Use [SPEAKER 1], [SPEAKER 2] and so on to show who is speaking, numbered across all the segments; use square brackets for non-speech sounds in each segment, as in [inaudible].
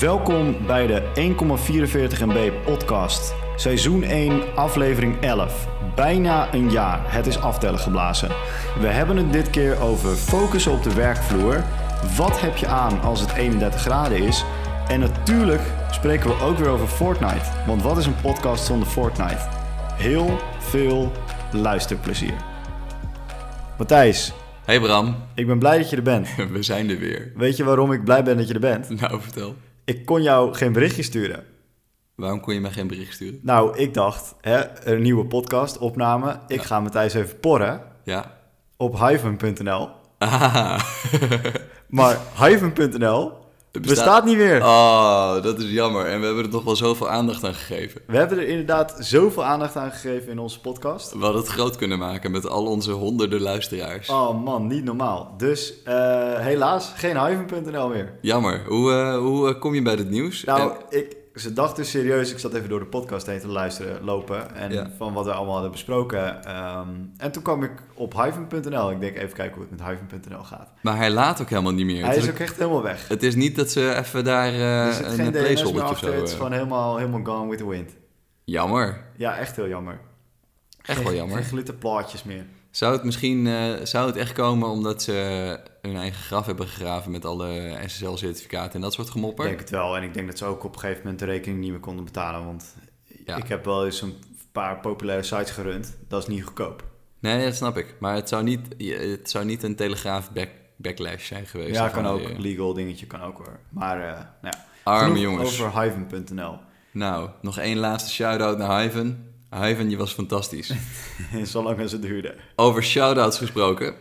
[SPEAKER 1] Welkom bij de 1,44 MB podcast. Seizoen 1, aflevering 11. Bijna een jaar, het is aftellen geblazen. We hebben het dit keer over focussen op de werkvloer. Wat heb je aan als het 31 graden is? En natuurlijk spreken we ook weer over Fortnite. Want wat is een podcast zonder Fortnite? Heel veel luisterplezier. Matthijs,
[SPEAKER 2] Hey Bram, [laughs]
[SPEAKER 1] ik ben blij dat je er bent.
[SPEAKER 2] we zijn er weer.
[SPEAKER 1] Weet je waarom ik blij ben dat je er bent?
[SPEAKER 2] Nou, vertel.
[SPEAKER 1] Ik kon jou geen berichtje sturen.
[SPEAKER 2] Waarom kon je mij geen bericht sturen?
[SPEAKER 1] Nou, ik dacht, hè, een nieuwe podcast, opname. Ik ga Matthijs even porren
[SPEAKER 2] Ja. [laughs]
[SPEAKER 1] op hyphen.nl.
[SPEAKER 2] Ah. [laughs]
[SPEAKER 1] Maar hyphen.nl bestaat... niet meer.
[SPEAKER 2] Oh, dat is jammer. En we hebben er toch wel zoveel aandacht aan gegeven.
[SPEAKER 1] We hebben er inderdaad zoveel aandacht aan gegeven in onze podcast.
[SPEAKER 2] We hadden het groot kunnen maken met al onze honderden luisteraars.
[SPEAKER 1] Oh man, niet normaal. Dus eh, helaas, geen hyphen.nl meer.
[SPEAKER 2] Jammer. Hoe, eh, hoe eh, kom je bij dit nieuws? En-
[SPEAKER 1] Nou, ik, ze dachten serieus, ik zat even door de podcast heen te luisteren, lopen. En
[SPEAKER 2] Ja.
[SPEAKER 1] van wat we allemaal hadden besproken. ehm, en toen kwam ik op hyphen.nl. Ik denk even kijken hoe het met hyphen.nl gaat.
[SPEAKER 2] maar hij laat ook helemaal niet meer.
[SPEAKER 1] Hij
[SPEAKER 2] het,
[SPEAKER 1] is
[SPEAKER 2] is,
[SPEAKER 1] ook echt helemaal weg.
[SPEAKER 2] het is niet dat ze even daar eh,
[SPEAKER 1] Er zit
[SPEAKER 2] een
[SPEAKER 1] geen DNS meer
[SPEAKER 2] placeholder of zo...
[SPEAKER 1] achter. Het is
[SPEAKER 2] eh,
[SPEAKER 1] gewoon helemaal, helemaal gone with the wind.
[SPEAKER 2] Jammer.
[SPEAKER 1] Ja, echt heel jammer.
[SPEAKER 2] Echt wel
[SPEAKER 1] Geen-
[SPEAKER 2] jammer.
[SPEAKER 1] Geen glitterplaatjes meer.
[SPEAKER 2] Zou het misschien eh, zou het echt komen omdat ze hun eigen graf hebben gegraven met alle SSL-certificaten en dat soort
[SPEAKER 1] Ik
[SPEAKER 2] gemopper?
[SPEAKER 1] denk het wel. En ik denk dat ze ook op een gegeven moment de rekening niet meer konden betalen. Want
[SPEAKER 2] Ja.
[SPEAKER 1] ik heb wel eens een paar populaire sites gerund. Dat is niet goedkoop.
[SPEAKER 2] Nee, dat snap ik. Maar het zou niet, je- het zou niet een telegraaf back, backlash zijn geweest.
[SPEAKER 1] ja,
[SPEAKER 2] Of
[SPEAKER 1] kan
[SPEAKER 2] een,
[SPEAKER 1] ook.
[SPEAKER 2] eh,
[SPEAKER 1] Legal dingetje kan ook hoor. Maar eh nou ja.
[SPEAKER 2] Arme
[SPEAKER 1] Genoeg
[SPEAKER 2] jongens.
[SPEAKER 1] over hyven.nl.
[SPEAKER 2] Nou, nog één laatste shout-out naar Hyven. Hyven, je was
[SPEAKER 1] [laughs]
[SPEAKER 2] fantastisch.
[SPEAKER 1] [laughs] Zolang als het duurde.
[SPEAKER 2] over shout-outs gesproken.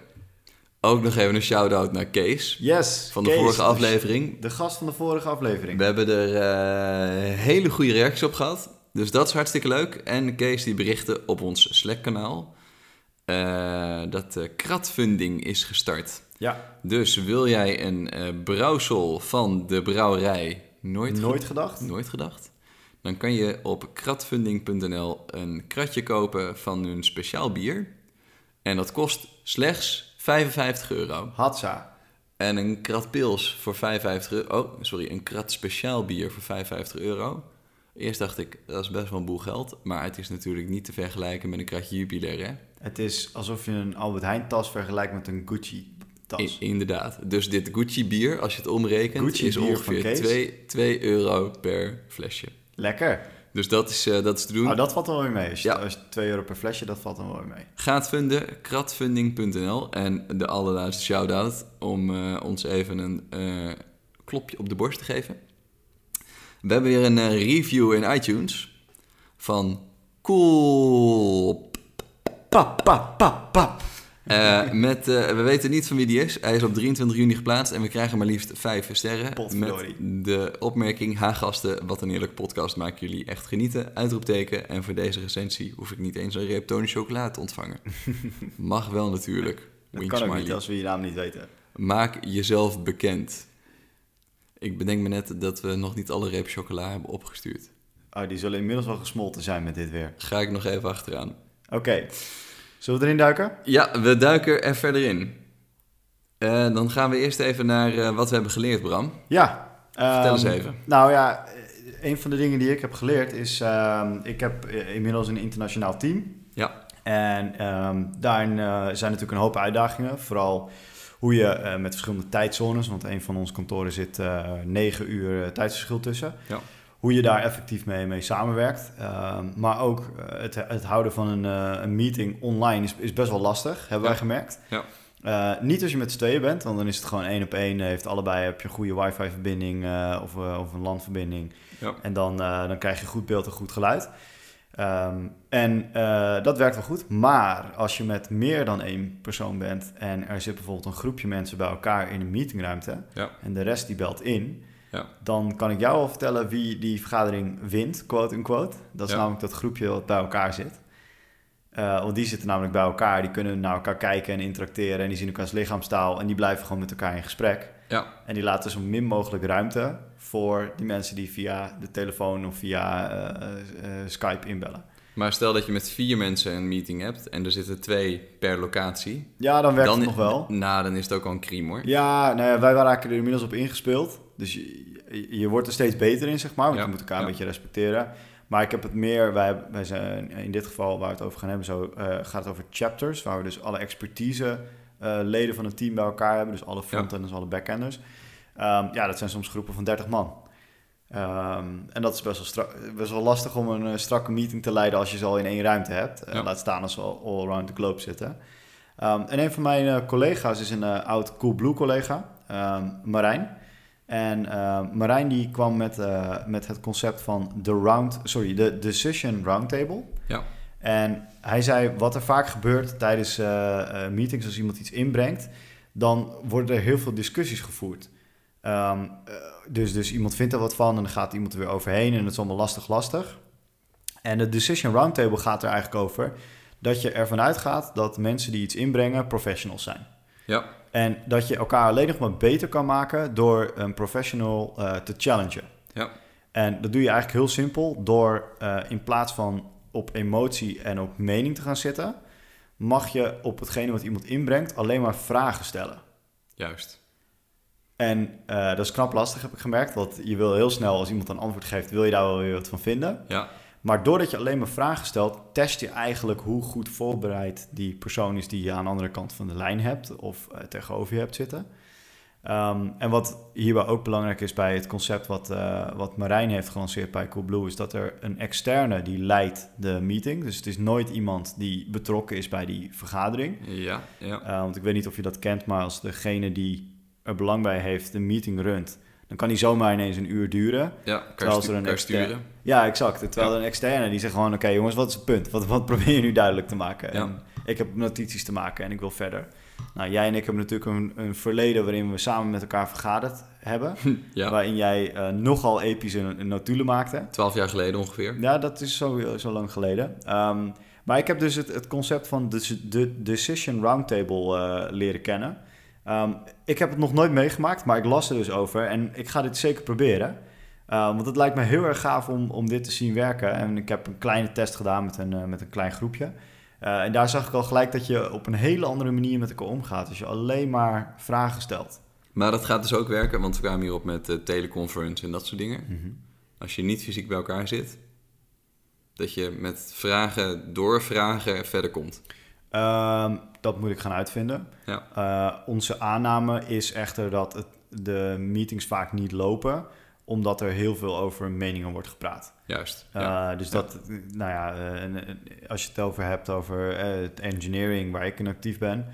[SPEAKER 2] Ook nog even een shout-out naar Kees.
[SPEAKER 1] Yes.
[SPEAKER 2] Van de
[SPEAKER 1] Kees,
[SPEAKER 2] vorige
[SPEAKER 1] dus
[SPEAKER 2] aflevering.
[SPEAKER 1] De gast van de vorige aflevering.
[SPEAKER 2] We hebben er eh, hele goede reacties op gehad. Dus dat is hartstikke leuk. En Kees die berichtte op ons Slack-kanaal eh, dat de kratfunding is gestart.
[SPEAKER 1] Ja,
[SPEAKER 2] Dus wil jij een eh brouwsel van de brouwerij nooit,
[SPEAKER 1] nooit gedacht.
[SPEAKER 2] nooit gedacht? Dan kan je op kratfunding.nl een kratje kopen van hun speciaal bier. En dat kost slechts 55 euro.
[SPEAKER 1] Hatsa.
[SPEAKER 2] En een krat pils voor 55 euro. Oh, sorry, een krat speciaal bier voor 55 euro. Eerst dacht ik, dat is best wel een boel geld. Maar het is natuurlijk niet te vergelijken met een kratje jubilair, hè?
[SPEAKER 1] Het is alsof je een Albert Heijn tas vergelijkt met een Gucci tas.
[SPEAKER 2] I- inderdaad. Dus dit Gucci bier, als je het omrekent,
[SPEAKER 1] Gucci
[SPEAKER 2] is
[SPEAKER 1] bier van
[SPEAKER 2] ongeveer
[SPEAKER 1] Kees.
[SPEAKER 2] 2, 2 euro per flesje.
[SPEAKER 1] Lekker.
[SPEAKER 2] Dus dat is, eh, dat is te doen.
[SPEAKER 1] Nou, dat valt dan wel weer mee. Als je,
[SPEAKER 2] Ja.
[SPEAKER 1] als je 2 euro per flesje, dat valt dan wel weer mee.
[SPEAKER 2] Gaat vinden, kratfunding.nl. En de allerlaatste shout-out om eh, ons even een eh, klopje op de borst te geven. We hebben weer een eh, review in iTunes van Cool.
[SPEAKER 1] Pap, pap, pap, pap.
[SPEAKER 2] Eh, met, eh, we weten niet van wie die is. Hij is op 23 juni geplaatst en we krijgen maar liefst 5 sterren.
[SPEAKER 1] Potverdorie.
[SPEAKER 2] Met de opmerking, ha gasten, wat een heerlijk podcast, maken jullie echt genieten. Uitroepteken en voor deze recensie hoef ik niet eens een reep Tony chocolade te
[SPEAKER 1] [laughs]
[SPEAKER 2] ontvangen. Mag wel natuurlijk.
[SPEAKER 1] Dat
[SPEAKER 2] Wink
[SPEAKER 1] kan ook
[SPEAKER 2] smiley.
[SPEAKER 1] niet als we je naam niet weten.
[SPEAKER 2] Maak jezelf bekend. Ik bedenk me net dat we nog niet alle reep chocola hebben opgestuurd.
[SPEAKER 1] Oh, die zullen inmiddels wel gesmolten zijn met dit weer.
[SPEAKER 2] Ga ik nog even achteraan.
[SPEAKER 1] Oké. Zullen we erin duiken?
[SPEAKER 2] Ja, we duiken er verder in. Eh, dan gaan we eerst even naar eh, wat we hebben geleerd, Bram.
[SPEAKER 1] Ja.
[SPEAKER 2] Vertel
[SPEAKER 1] ehm,
[SPEAKER 2] eens even.
[SPEAKER 1] Nou ja, eh, een van de dingen die ik heb geleerd is... ehm, ik heb eh, inmiddels een internationaal team.
[SPEAKER 2] Ja.
[SPEAKER 1] En ehm, daarin eh, zijn natuurlijk een hoop uitdagingen. Vooral hoe je eh, met verschillende tijdzones... want een van onze kantoren zit eh 9 uur eh, tijdsverschil tussen...
[SPEAKER 2] Ja.
[SPEAKER 1] hoe je daar effectief mee, mee samenwerkt. Ehm, maar ook eh, het, het houden van een, eh, een meeting online is, is best wel lastig, hebben wij
[SPEAKER 2] Ja.
[SPEAKER 1] gemerkt.
[SPEAKER 2] Ja.
[SPEAKER 1] Eh, niet als je met z'n tweeën bent, want dan is het gewoon één op één. eh, Heeft allebei heb je een goede wifi-verbinding eh, of, eh, of een landverbinding.
[SPEAKER 2] Ja.
[SPEAKER 1] En dan, eh, dan krijg je goed beeld en goed geluid. Ehm, en eh, dat werkt wel goed. Maar als je met meer dan één persoon bent en er zit bijvoorbeeld een groepje mensen bij elkaar in een meetingruimte
[SPEAKER 2] Ja.
[SPEAKER 1] en de rest die belt in,
[SPEAKER 2] Ja.
[SPEAKER 1] dan kan ik jou al vertellen wie die vergadering wint, quote unquote. Dat is
[SPEAKER 2] Ja.
[SPEAKER 1] namelijk dat groepje wat bij elkaar zit. Eh, want die zitten namelijk bij elkaar, die kunnen naar elkaar kijken en interacteren en die zien elkaars lichaamstaal en die blijven gewoon met elkaar in gesprek.
[SPEAKER 2] Ja.
[SPEAKER 1] En die laten zo min mogelijk ruimte voor die mensen die via de telefoon of via eh, eh, eh, Skype inbellen.
[SPEAKER 2] Maar stel dat je met vier mensen een meeting hebt en er zitten twee per locatie.
[SPEAKER 1] Ja, dan werkt
[SPEAKER 2] dan
[SPEAKER 1] het nog wel.
[SPEAKER 2] Nou, dan is het ook al een crime hoor.
[SPEAKER 1] Ja, nou ja, wij raken er inmiddels op ingespeeld. Dus je, je- je wordt er steeds beter in, zeg maar. Want
[SPEAKER 2] Ja,
[SPEAKER 1] je moet elkaar
[SPEAKER 2] ja.
[SPEAKER 1] een beetje respecteren. Maar ik heb het meer, wij, wij zijn in dit geval waar we het over gaan hebben, zo, eh, gaat het over chapters. Waar we dus alle expertise eh, leden van het team bij elkaar hebben. Dus alle frontenders, alle backenders. Ehm, ja, dat zijn soms groepen van 30 man. Ehm, en dat is best wel, stra- best wel lastig om een eh, strakke meeting te leiden als je ze al in één ruimte hebt. Eh,
[SPEAKER 2] Ja.
[SPEAKER 1] Laat staan als ze al all around the globe zitten. Ehm, en een van mijn eh, collega's is een eh, oud Coolblue collega, ehm, Marijn. En ehm, Marijn die kwam met, eh, met het concept van de round, sorry, de decision roundtable.
[SPEAKER 2] Ja.
[SPEAKER 1] En hij zei wat er vaak gebeurt tijdens eh, eh, meetings als iemand iets inbrengt, dan worden er heel veel discussies gevoerd. Ehm, eh, dus, dus iemand vindt er wat van en dan gaat iemand er weer overheen en het is allemaal lastig, lastig. En de decision roundtable gaat er eigenlijk over dat je ervan uitgaat dat mensen die iets inbrengen professionals zijn.
[SPEAKER 2] Ja.
[SPEAKER 1] En dat je elkaar alleen nog maar beter kan maken door een professional eh, te challengen.
[SPEAKER 2] Ja.
[SPEAKER 1] En dat doe je eigenlijk heel simpel door eh, in plaats van op emotie en op mening te gaan zitten, mag je op hetgene wat iemand inbrengt alleen maar vragen stellen.
[SPEAKER 2] Juist.
[SPEAKER 1] En eh, dat is knap lastig, heb ik gemerkt. Want je wil heel snel, als iemand een antwoord geeft, wil je daar wel weer wat van vinden.
[SPEAKER 2] Ja.
[SPEAKER 1] Maar doordat je alleen maar vragen stelt, test je eigenlijk hoe goed voorbereid die persoon is die je aan de andere kant van de lijn hebt of eh, tegenover je hebt zitten. Ehm, en wat hierbij ook belangrijk is bij het concept wat, eh, wat Marijn heeft gelanceerd bij Coolblue, is dat er een externe die leidt de meeting. Dus het is nooit iemand die betrokken is bij die vergadering.
[SPEAKER 2] Ja. Ja.
[SPEAKER 1] Uh, want ik weet niet of je dat kent, maar als degene die er belang bij heeft de meeting runt, dan kan die zomaar ineens een uur duren.
[SPEAKER 2] Ja. Kan je
[SPEAKER 1] Terwijl
[SPEAKER 2] stu-
[SPEAKER 1] er een
[SPEAKER 2] kan je
[SPEAKER 1] externe-
[SPEAKER 2] sturen. [laughs]
[SPEAKER 1] Ja, exact. Terwijl
[SPEAKER 2] Ja.
[SPEAKER 1] er een externe die zegt gewoon, oké jongens, wat is het punt? Wat, [laughs] wat probeer je nu duidelijk te maken?
[SPEAKER 2] Ja.
[SPEAKER 1] En ik heb notities te maken en ik wil verder. Nou, jij en ik hebben natuurlijk een, een verleden waarin we samen met elkaar vergaderd hebben.
[SPEAKER 2] Ja.
[SPEAKER 1] Waarin jij eh, nogal epische n- notulen maakte.
[SPEAKER 2] Twaalf jaar geleden ongeveer.
[SPEAKER 1] Ja, dat is zo, zo lang geleden. Ehm, maar ik heb dus het, het concept van de, de Decision Roundtable eh, leren kennen. Ehm, ik heb het nog nooit meegemaakt, maar ik las er dus over. En ik ga dit zeker proberen. Eh, want het lijkt me heel erg gaaf om, om dit te zien werken. En ik heb een kleine test gedaan met een, eh, met een klein groepje. Eh, en daar zag ik al gelijk dat je op een hele andere manier met elkaar omgaat. Als je alleen maar vragen stelt.
[SPEAKER 2] Maar dat gaat dus ook werken, want we kwamen hierop met eh, teleconference en dat soort dingen.
[SPEAKER 1] Mhm.
[SPEAKER 2] Als je niet fysiek bij elkaar zit, dat je met vragen, doorvragen verder komt.
[SPEAKER 1] Ehm, dat moet ik gaan uitvinden.
[SPEAKER 2] Ja.
[SPEAKER 1] Eh, onze aanname is echter dat het, de meetings vaak niet lopen, omdat er heel veel over meningen wordt gepraat.
[SPEAKER 2] Juist.
[SPEAKER 1] Eh,
[SPEAKER 2] ja.
[SPEAKER 1] dus dat, nou ja, eh, en, en als je het over hebt over eh, het engineering waar ik in actief ben,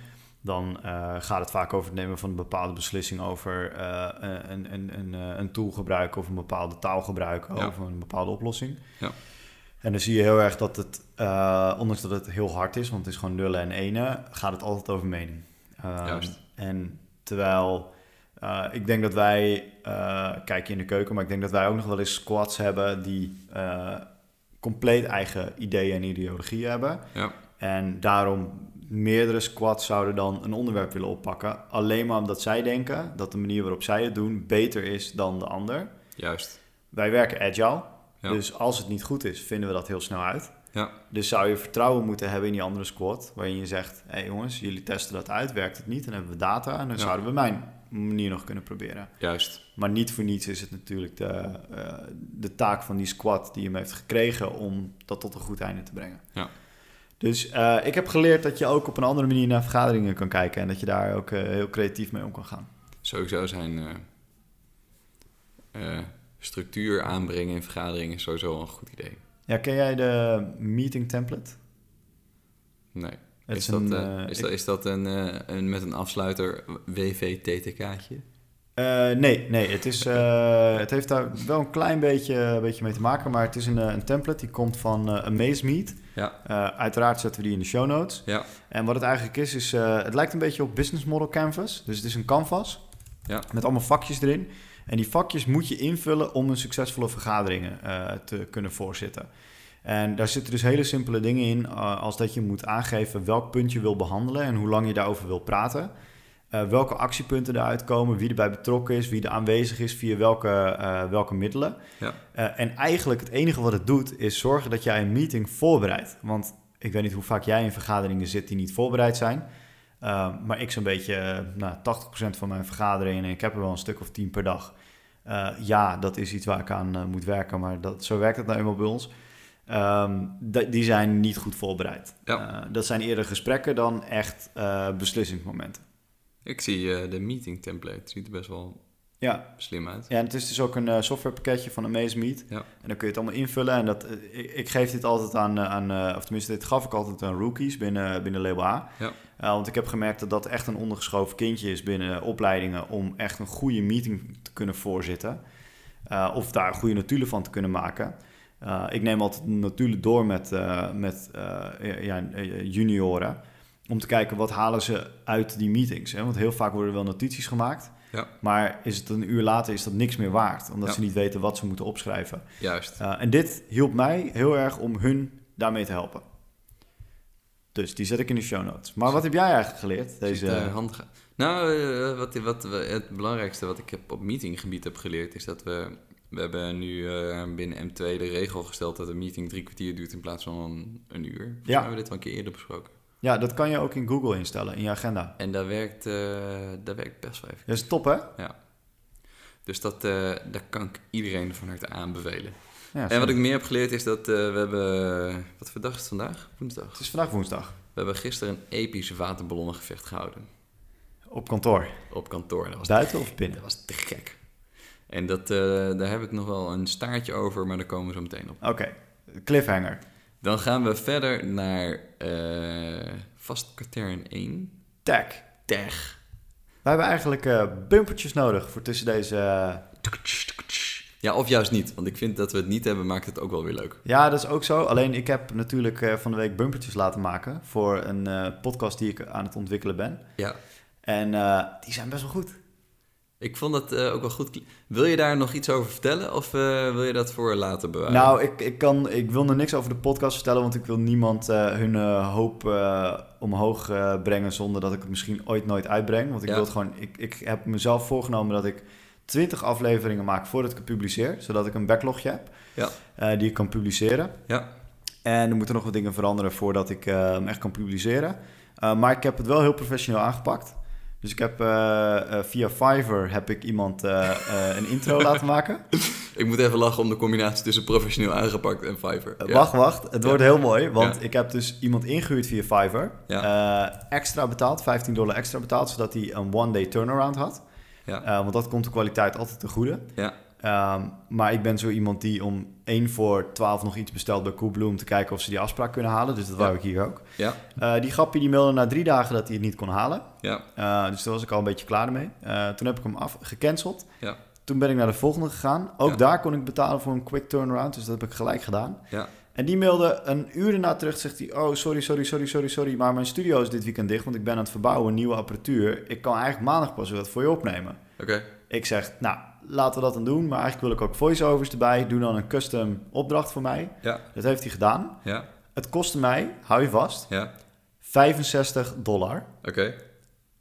[SPEAKER 1] dan eh, gaat het vaak over het nemen van een bepaalde beslissing over eh, een, een, een, eh, een tool gebruiken of een bepaalde taal gebruiken
[SPEAKER 2] Ja.
[SPEAKER 1] of een bepaalde oplossing.
[SPEAKER 2] Ja.
[SPEAKER 1] En dan zie je heel erg dat het, eh, ondanks dat het heel hard is, want het is gewoon nullen en enen, gaat het altijd over mening. Ehm,
[SPEAKER 2] Juist.
[SPEAKER 1] En terwijl eh, ik denk dat wij, eh kijk je in de keuken, maar ik denk dat wij ook nog wel eens squads hebben die eh, compleet eigen ideeën en ideologieën hebben.
[SPEAKER 2] Ja.
[SPEAKER 1] En daarom meerdere squads zouden dan een onderwerp willen oppakken. Alleen maar omdat zij denken dat de manier waarop zij het doen beter is dan de ander.
[SPEAKER 2] Juist.
[SPEAKER 1] Wij werken agile,
[SPEAKER 2] Ja.
[SPEAKER 1] dus als het niet goed is, vinden we dat heel snel uit.
[SPEAKER 2] Ja.
[SPEAKER 1] Dus zou je vertrouwen moeten hebben in die andere squad, waarin je zegt: hé hey jongens, jullie testen dat uit, werkt het niet, dan hebben we data en dan
[SPEAKER 2] Ja.
[SPEAKER 1] zouden we mijn manier nog kunnen proberen.
[SPEAKER 2] Juist.
[SPEAKER 1] Maar niet voor niets is het natuurlijk de, eh, de taak van die squad die hem heeft gekregen om dat tot een goed einde te brengen.
[SPEAKER 2] Ja.
[SPEAKER 1] Dus eh, ik heb geleerd dat je ook op een andere manier naar vergaderingen kan kijken en dat je daar ook eh, heel creatief mee om kan gaan.
[SPEAKER 2] Sowieso zijn eh, eh, structuur aanbrengen in vergaderingen is sowieso een goed idee.
[SPEAKER 1] Ja, ken jij de meeting template?
[SPEAKER 2] Nee.
[SPEAKER 1] Het
[SPEAKER 2] is, dat, eh,
[SPEAKER 1] eh,
[SPEAKER 2] is,
[SPEAKER 1] ik-
[SPEAKER 2] dat, is dat een, eh, een met een afsluiter WVTTK'tje?
[SPEAKER 1] Eh, nee, nee het, is, eh, het heeft daar wel een klein beetje, beetje mee te maken, maar het is een, eh, een template die komt van eh AmazeMeet.
[SPEAKER 2] Ja.
[SPEAKER 1] Eh, uiteraard zetten we die in de show notes.
[SPEAKER 2] Ja.
[SPEAKER 1] En wat het eigenlijk is, is eh, het lijkt een beetje op business model canvas. Dus het is een canvas
[SPEAKER 2] Ja.
[SPEAKER 1] met allemaal vakjes erin. En die vakjes moet je invullen om een succesvolle vergadering eh, te kunnen voorzitten. En daar zitten dus hele simpele dingen in, eh, als dat je moet aangeven welk punt je wil behandelen en hoe lang je daarover wil praten. Eh, welke actiepunten eruit komen, wie erbij betrokken is, wie er aanwezig is, via welke, eh, welke middelen.
[SPEAKER 2] Ja.
[SPEAKER 1] Eh, en eigenlijk het enige wat het doet, is zorgen dat jij een meeting voorbereidt. Want ik weet niet hoe vaak jij in vergaderingen zit die niet voorbereid zijn. Eh, maar ik zo'n beetje, eh, nou, 80% van mijn vergaderingen, en ik heb er wel een stuk of 10 per dag, Eh, ja, dat is iets waar ik aan eh, moet werken, maar dat, zo werkt het nou eenmaal bij ons. Ehm, d- die zijn niet goed voorbereid.
[SPEAKER 2] Ja.
[SPEAKER 1] Eh, dat zijn eerder gesprekken dan echt eh, beslissingsmomenten.
[SPEAKER 2] Ik zie eh, de meeting template. Ziet er best wel
[SPEAKER 1] Ja,
[SPEAKER 2] slim uit.
[SPEAKER 1] ja en het is dus ook een eh, softwarepakketje van AmazeMeet.
[SPEAKER 2] Ja.
[SPEAKER 1] En dan kun je het allemaal invullen. En dat, eh, ik, ik geef dit altijd aan, eh, aan eh, of tenminste, dit gaf ik altijd aan rookies binnen, binnen label A.
[SPEAKER 2] Ja.
[SPEAKER 1] Eh, want ik heb gemerkt dat dat echt een ondergeschoven kindje is binnen opleidingen om echt een goede meeting te kunnen voorzitten. Eh, of daar goede notulen van te kunnen maken. Eh, ik neem altijd notulen door met, eh, met eh, ja, eh, junioren. Om te kijken wat halen ze uit die meetings. Hè? Want heel vaak worden wel notities gemaakt.
[SPEAKER 2] Ja.
[SPEAKER 1] Maar is het een uur later is dat niks meer waard. Omdat
[SPEAKER 2] Ja.
[SPEAKER 1] ze niet weten wat ze moeten opschrijven.
[SPEAKER 2] Juist.
[SPEAKER 1] Uh, en dit hielp mij heel erg om hun daarmee te helpen. Dus die zet ik in de show notes. Maar wat heb jij eigenlijk geleerd? Deze,
[SPEAKER 2] Zit, eh, handige- Nou, eh, wat, wat, we- het belangrijkste wat ik heb op meetinggebied heb geleerd is dat we... We hebben nu eh, binnen M2 de regel gesteld dat een meeting drie kwartier duurt in plaats van een, een uur. Volgens mij hebben we dit al een keer eerder besproken.
[SPEAKER 1] ja, dat kan je ook in Google instellen, in je agenda.
[SPEAKER 2] En dat werkt, eh, dat werkt best wel even.
[SPEAKER 1] Dat is top, hè?
[SPEAKER 2] Dus dat, eh dat kan ik iedereen van harte aanbevelen.
[SPEAKER 1] Ja,
[SPEAKER 2] En wat ik meer heb geleerd is dat eh, we hebben... Wat voor dag is het vandaag? Woensdag.
[SPEAKER 1] Het is vandaag woensdag,
[SPEAKER 2] We hebben gisteren een episch waterballonnengevecht gehouden.
[SPEAKER 1] op kantoor.
[SPEAKER 2] Op kantoor. Dat was
[SPEAKER 1] Buiten of binnen?
[SPEAKER 2] Dat was te gek. En dat, eh, daar heb ik nog wel een staartje over, maar daar komen we zo meteen op.
[SPEAKER 1] Oké, cliffhanger.
[SPEAKER 2] Dan gaan we verder naar eh vast katern 1.
[SPEAKER 1] Tag.
[SPEAKER 2] Tech.
[SPEAKER 1] We hebben eigenlijk eh, bumpertjes nodig voor tussen deze... eh,
[SPEAKER 2] Ja, of juist niet. Want ik vind dat we het niet hebben, maakt het ook wel weer leuk.
[SPEAKER 1] Ja, dat is ook zo. Alleen ik heb natuurlijk eh, van de week bumpertjes laten maken... voor een eh, podcast die ik aan het ontwikkelen ben.
[SPEAKER 2] Ja.
[SPEAKER 1] En eh, die zijn best wel goed.
[SPEAKER 2] Ik vond dat eh, ook wel goed. kli- Wil je daar nog iets over vertellen? Of eh, wil je dat voor later bewaren?
[SPEAKER 1] Nou, ik, ik, kan, ik wil er niks over de podcast vertellen, want ik wil niemand eh, hun eh, hoop eh, omhoog eh, brengen zonder dat ik het misschien ooit nooit uitbreng. Want ik
[SPEAKER 2] Ja.
[SPEAKER 1] wil het gewoon. Ik, ik heb mezelf voorgenomen dat ik 20 afleveringen maak voordat ik het publiceer, zodat ik een backlogje heb
[SPEAKER 2] Ja.
[SPEAKER 1] eh, die ik kan publiceren.
[SPEAKER 2] Ja.
[SPEAKER 1] En er moeten nog wat dingen veranderen voordat ik eh, hem echt kan publiceren. Eh, maar ik heb het wel heel professioneel aangepakt. Dus ik heb eh, eh, via Fiverr heb ik iemand eh, eh, een
[SPEAKER 2] [laughs]
[SPEAKER 1] intro laten maken.
[SPEAKER 2] Ik moet even lachen om de combinatie tussen professioneel aangepakt en Fiverr.
[SPEAKER 1] Eh,
[SPEAKER 2] Ja.
[SPEAKER 1] Wacht, wacht. Het
[SPEAKER 2] Ja.
[SPEAKER 1] wordt heel mooi. Want
[SPEAKER 2] Ja.
[SPEAKER 1] ik heb dus iemand ingehuurd via Fiverr. Eh, extra betaald, 15 dollar extra betaald, zodat hij een one-day turnaround had.
[SPEAKER 2] Ja.
[SPEAKER 1] Eh, want dat komt de kwaliteit altijd ten goede.
[SPEAKER 2] Ja.
[SPEAKER 1] Ehm, maar ik ben zo iemand die om 1 voor 12 nog iets bestelt bij Coolblue... om te kijken of ze die afspraak kunnen halen. Dus dat
[SPEAKER 2] Ja.
[SPEAKER 1] wou ik hier ook.
[SPEAKER 2] Ja.
[SPEAKER 1] Eh, die grapje die mailde na drie dagen dat hij het niet kon halen.
[SPEAKER 2] Ja.
[SPEAKER 1] Eh, dus daar was ik al een beetje klaar mee. Eh, toen heb ik hem af gecanceld.
[SPEAKER 2] Ja.
[SPEAKER 1] Toen ben ik naar de volgende gegaan. Ook
[SPEAKER 2] Ja.
[SPEAKER 1] daar kon ik betalen voor een quick turnaround. Dus dat heb ik gelijk gedaan.
[SPEAKER 2] Ja.
[SPEAKER 1] En die mailde een uur daarna terug. Zegt hij: Oh, sorry, sorry, sorry, sorry, sorry. Maar mijn studio is dit weekend dicht. Want ik ben aan het verbouwen, nieuwe apparatuur. Ik kan eigenlijk maandag pas weer wat voor je opnemen.
[SPEAKER 2] Oké.
[SPEAKER 1] Ik zeg: Nou, laten we dat dan doen. Maar eigenlijk wil ik ook voiceovers erbij. Doe dan een custom opdracht voor mij.
[SPEAKER 2] Ja.
[SPEAKER 1] Dat heeft hij gedaan.
[SPEAKER 2] Ja.
[SPEAKER 1] Het kostte mij, hou je vast,
[SPEAKER 2] Ja.
[SPEAKER 1] 65 dollar.
[SPEAKER 2] Oké. En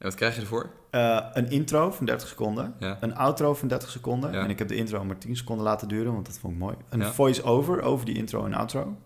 [SPEAKER 2] wat krijg je ervoor?
[SPEAKER 1] Eh, een intro van 30 seconden.
[SPEAKER 2] Ja.
[SPEAKER 1] Een outro van 30 seconden.
[SPEAKER 2] Ja.
[SPEAKER 1] En ik heb de intro maar 10 seconden laten duren, want dat vond ik mooi. Een
[SPEAKER 2] Ja.
[SPEAKER 1] voice-over over die intro en outro.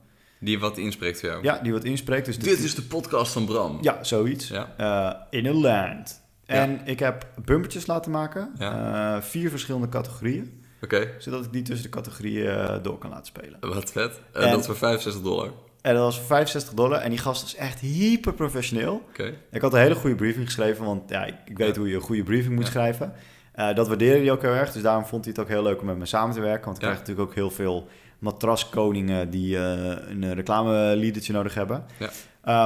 [SPEAKER 2] Die wat inspreekt voor jou.
[SPEAKER 1] Ja, die wat inspreekt. Dus de-
[SPEAKER 2] Dit is de podcast van Bram.
[SPEAKER 1] Ja, zoiets.
[SPEAKER 2] Ja.
[SPEAKER 1] Eh, in a land.
[SPEAKER 2] Ja.
[SPEAKER 1] En ik heb bumpertjes laten maken.
[SPEAKER 2] Ja.
[SPEAKER 1] eh, vier verschillende categorieën.
[SPEAKER 2] Oké.
[SPEAKER 1] Zodat ik die tussen de categorieën eh, door kan laten spelen.
[SPEAKER 2] Wat vet. En
[SPEAKER 1] En-
[SPEAKER 2] dat voor 65 dollar. Oké.
[SPEAKER 1] En dat was voor 65 dollar. En die gast was echt hyper professioneel. Ik had een hele goede briefing geschreven. Want ja, ik, ik weet
[SPEAKER 2] Ja.
[SPEAKER 1] hoe je een goede briefing moet
[SPEAKER 2] Ja.
[SPEAKER 1] schrijven. Eh, dat waardeerde hij ook heel erg. Dus daarom vond hij het ook heel leuk om met me samen te werken. Want ik
[SPEAKER 2] Ja.
[SPEAKER 1] krijg natuurlijk ook heel veel matraskoningen die eh, een reclameliedertje nodig hebben.
[SPEAKER 2] Ja.
[SPEAKER 1] Eh,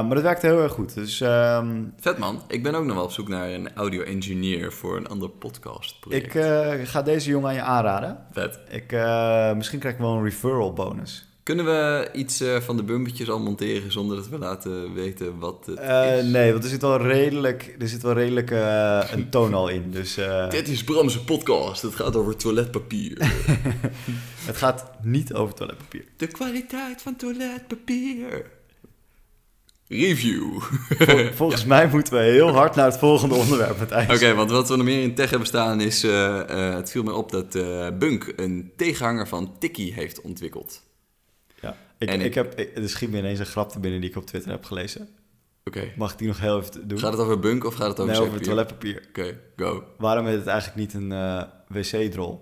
[SPEAKER 1] maar dat werkte heel erg goed. Dus ehm,
[SPEAKER 2] Vet man. Ik ben ook nog wel op zoek naar een audio engineer voor een ander podcast project.
[SPEAKER 1] Ik eh, ga deze jongen aan je aanraden.
[SPEAKER 2] Vet.
[SPEAKER 1] Ik, eh, misschien krijg ik wel een referral bonus.
[SPEAKER 2] Kunnen we iets eh, van de bumpetjes al monteren zonder dat we laten weten wat het
[SPEAKER 1] Eh,
[SPEAKER 2] is?
[SPEAKER 1] nee, want er zit wel redelijk, er zit wel redelijk eh, een toon al in. Dus eh,
[SPEAKER 2] Dit is Bram's podcast. Het gaat over toiletpapier.
[SPEAKER 1] het gaat niet over toiletpapier.
[SPEAKER 2] [laughs] de kwaliteit van toiletpapier. [laughs] Review.
[SPEAKER 1] Vol- volgens mij moeten we heel hard naar het volgende onderwerp, Matthijs.
[SPEAKER 2] Oké, want wat we nog meer in tech hebben staan is... eh, eh, het viel me op dat eh, Bunk een tegenhanger van Tiki heeft ontwikkeld.
[SPEAKER 1] Ja. Ik,
[SPEAKER 2] En
[SPEAKER 1] ik,
[SPEAKER 2] ik-
[SPEAKER 1] heb, ik- er schiet me ineens een grap te binnen die ik op Twitter heb gelezen.
[SPEAKER 2] Oké.
[SPEAKER 1] Mag ik die nog heel even doen?
[SPEAKER 2] Gaat het over Bunk of gaat het over
[SPEAKER 1] nee, over
[SPEAKER 2] zakpapier?
[SPEAKER 1] toiletpapier.
[SPEAKER 2] Oké, go.
[SPEAKER 1] Waarom heet het eigenlijk niet een eh, wc-drol? [laughs]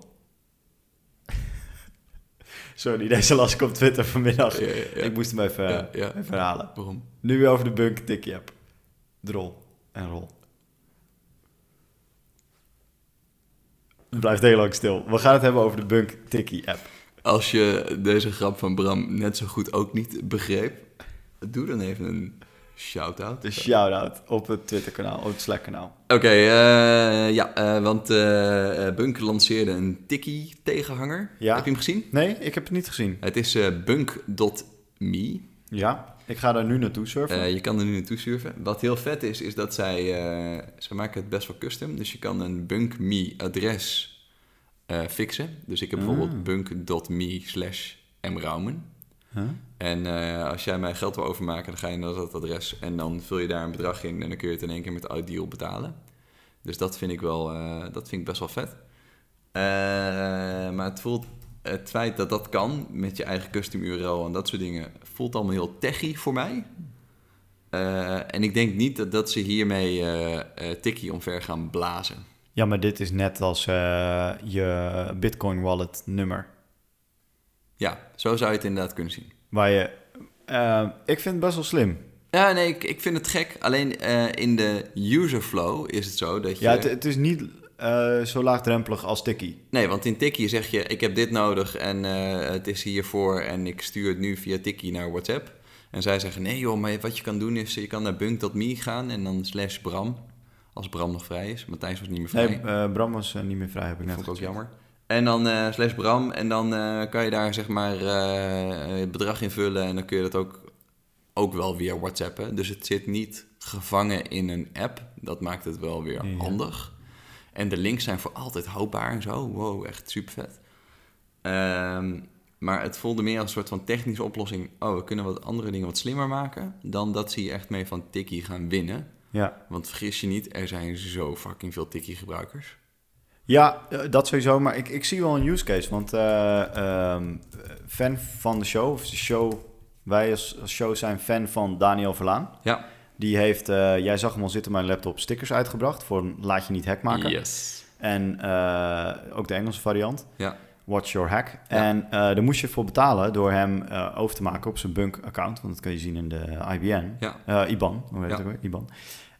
[SPEAKER 1] Zo, die deze las ik op Twitter vanmiddag.
[SPEAKER 2] Ja, ja, ja.
[SPEAKER 1] Ik moest hem even,
[SPEAKER 2] Ja, ja.
[SPEAKER 1] even halen.
[SPEAKER 2] Waarom?
[SPEAKER 1] Nu weer over de bunk tikje heb. Drol en rol. Het blijft heel lang stil. We gaan het hebben over de Bunk Tikkie app.
[SPEAKER 2] Als je deze grap van Bram net zo goed ook niet begreep, doe dan even een shout-out.
[SPEAKER 1] De shout-out op het Twitter-kanaal, op het Slack-kanaal.
[SPEAKER 2] Oké, eh, ja, eh, want eh eh, Bunk lanceerde een Tiki-tegenhanger.
[SPEAKER 1] Ja.
[SPEAKER 2] Heb je hem gezien?
[SPEAKER 1] Nee, ik heb het niet gezien.
[SPEAKER 2] Het is eh, bunk.me.
[SPEAKER 1] Ja, ik ga daar nu naartoe surfen.
[SPEAKER 2] Eh, je kan er nu naartoe surfen. Wat heel vet is, is dat zij... eh, ze maken het best wel custom. Dus je kan een Bunk Me adres eh, fixen. Dus ik heb bijvoorbeeld bunk.me slash mraumen.
[SPEAKER 1] Huh?
[SPEAKER 2] En eh, als jij mij geld wil overmaken, dan ga je naar dat adres. En dan vul je daar een bedrag in. En dan kun je het in één keer met Ideal betalen. Dus dat vind ik wel... eh, dat vind ik best wel vet. Eh, maar het voelt... Het feit dat dat kan met je eigen custom URL en dat soort dingen... voelt allemaal heel techy voor mij. Eh, en ik denk niet dat, dat ze hiermee eh eh, Tikkie omver gaan blazen.
[SPEAKER 1] Ja, maar dit is net als eh, je Bitcoin wallet nummer.
[SPEAKER 2] Ja, zo zou je het inderdaad kunnen zien.
[SPEAKER 1] Waar je. eh, ik vind het best wel slim.
[SPEAKER 2] Ja, nee, ik, ik vind het gek. Alleen eh, in de user flow is het zo dat je...
[SPEAKER 1] Ja, het, het is niet eh, zo laagdrempelig als Tikkie.
[SPEAKER 2] Nee, want in Tikkie zeg je, ik heb dit nodig en eh, het is hiervoor en ik stuur het nu via Tikkie naar WhatsApp. En zij zeggen, nee joh, maar wat je kan doen is, je kan naar bunk.me gaan en dan slash Bram, als Bram nog vrij is. Matthijs was niet meer vrij,
[SPEAKER 1] Nee, eh, Bram was eh, niet meer vrij, heb ik net
[SPEAKER 2] vond ik ook
[SPEAKER 1] gezien.
[SPEAKER 2] jammer. En dan eh, slash Bram en dan eh, kan je daar zeg maar eh, het bedrag invullen en dan kun je dat ook, ook wel via WhatsAppen. Dus het zit niet gevangen in een app, dat maakt het wel weer
[SPEAKER 1] Ja.
[SPEAKER 2] handig. En de links zijn voor altijd houdbaar en zo. Wow, echt super vet. maar het voelde meer als een soort van technische oplossing. Oh, we kunnen wat andere dingen wat slimmer maken. Dan dat ze hier echt mee van Tikkie gaan winnen.
[SPEAKER 1] Ja.
[SPEAKER 2] Want vergis je niet, er zijn zo fucking veel Tikkie-gebruikers.
[SPEAKER 1] Ja, eh, dat sowieso. Maar ik, ik zie wel een use case. Want eh, ehm, fan van de show, of de show, wij als, als show zijn fan van Daniel Verlaan.
[SPEAKER 2] Ja.
[SPEAKER 1] Die heeft, eh, jij zag hem al zitten op mijn laptop, stickers uitgebracht voor een Laat je niet hack maken.
[SPEAKER 2] Yes.
[SPEAKER 1] En eh, ook de Engelse variant.
[SPEAKER 2] Ja.
[SPEAKER 1] Watch Your Hack.
[SPEAKER 2] Ja.
[SPEAKER 1] En eh, daar moest je voor betalen door hem eh, over te maken op zijn Bunk-account. Want dat kun je zien in de IBN.
[SPEAKER 2] Ja.
[SPEAKER 1] Eh, IBAN, hoe heet
[SPEAKER 2] Ja.
[SPEAKER 1] het ook weer? IBAN.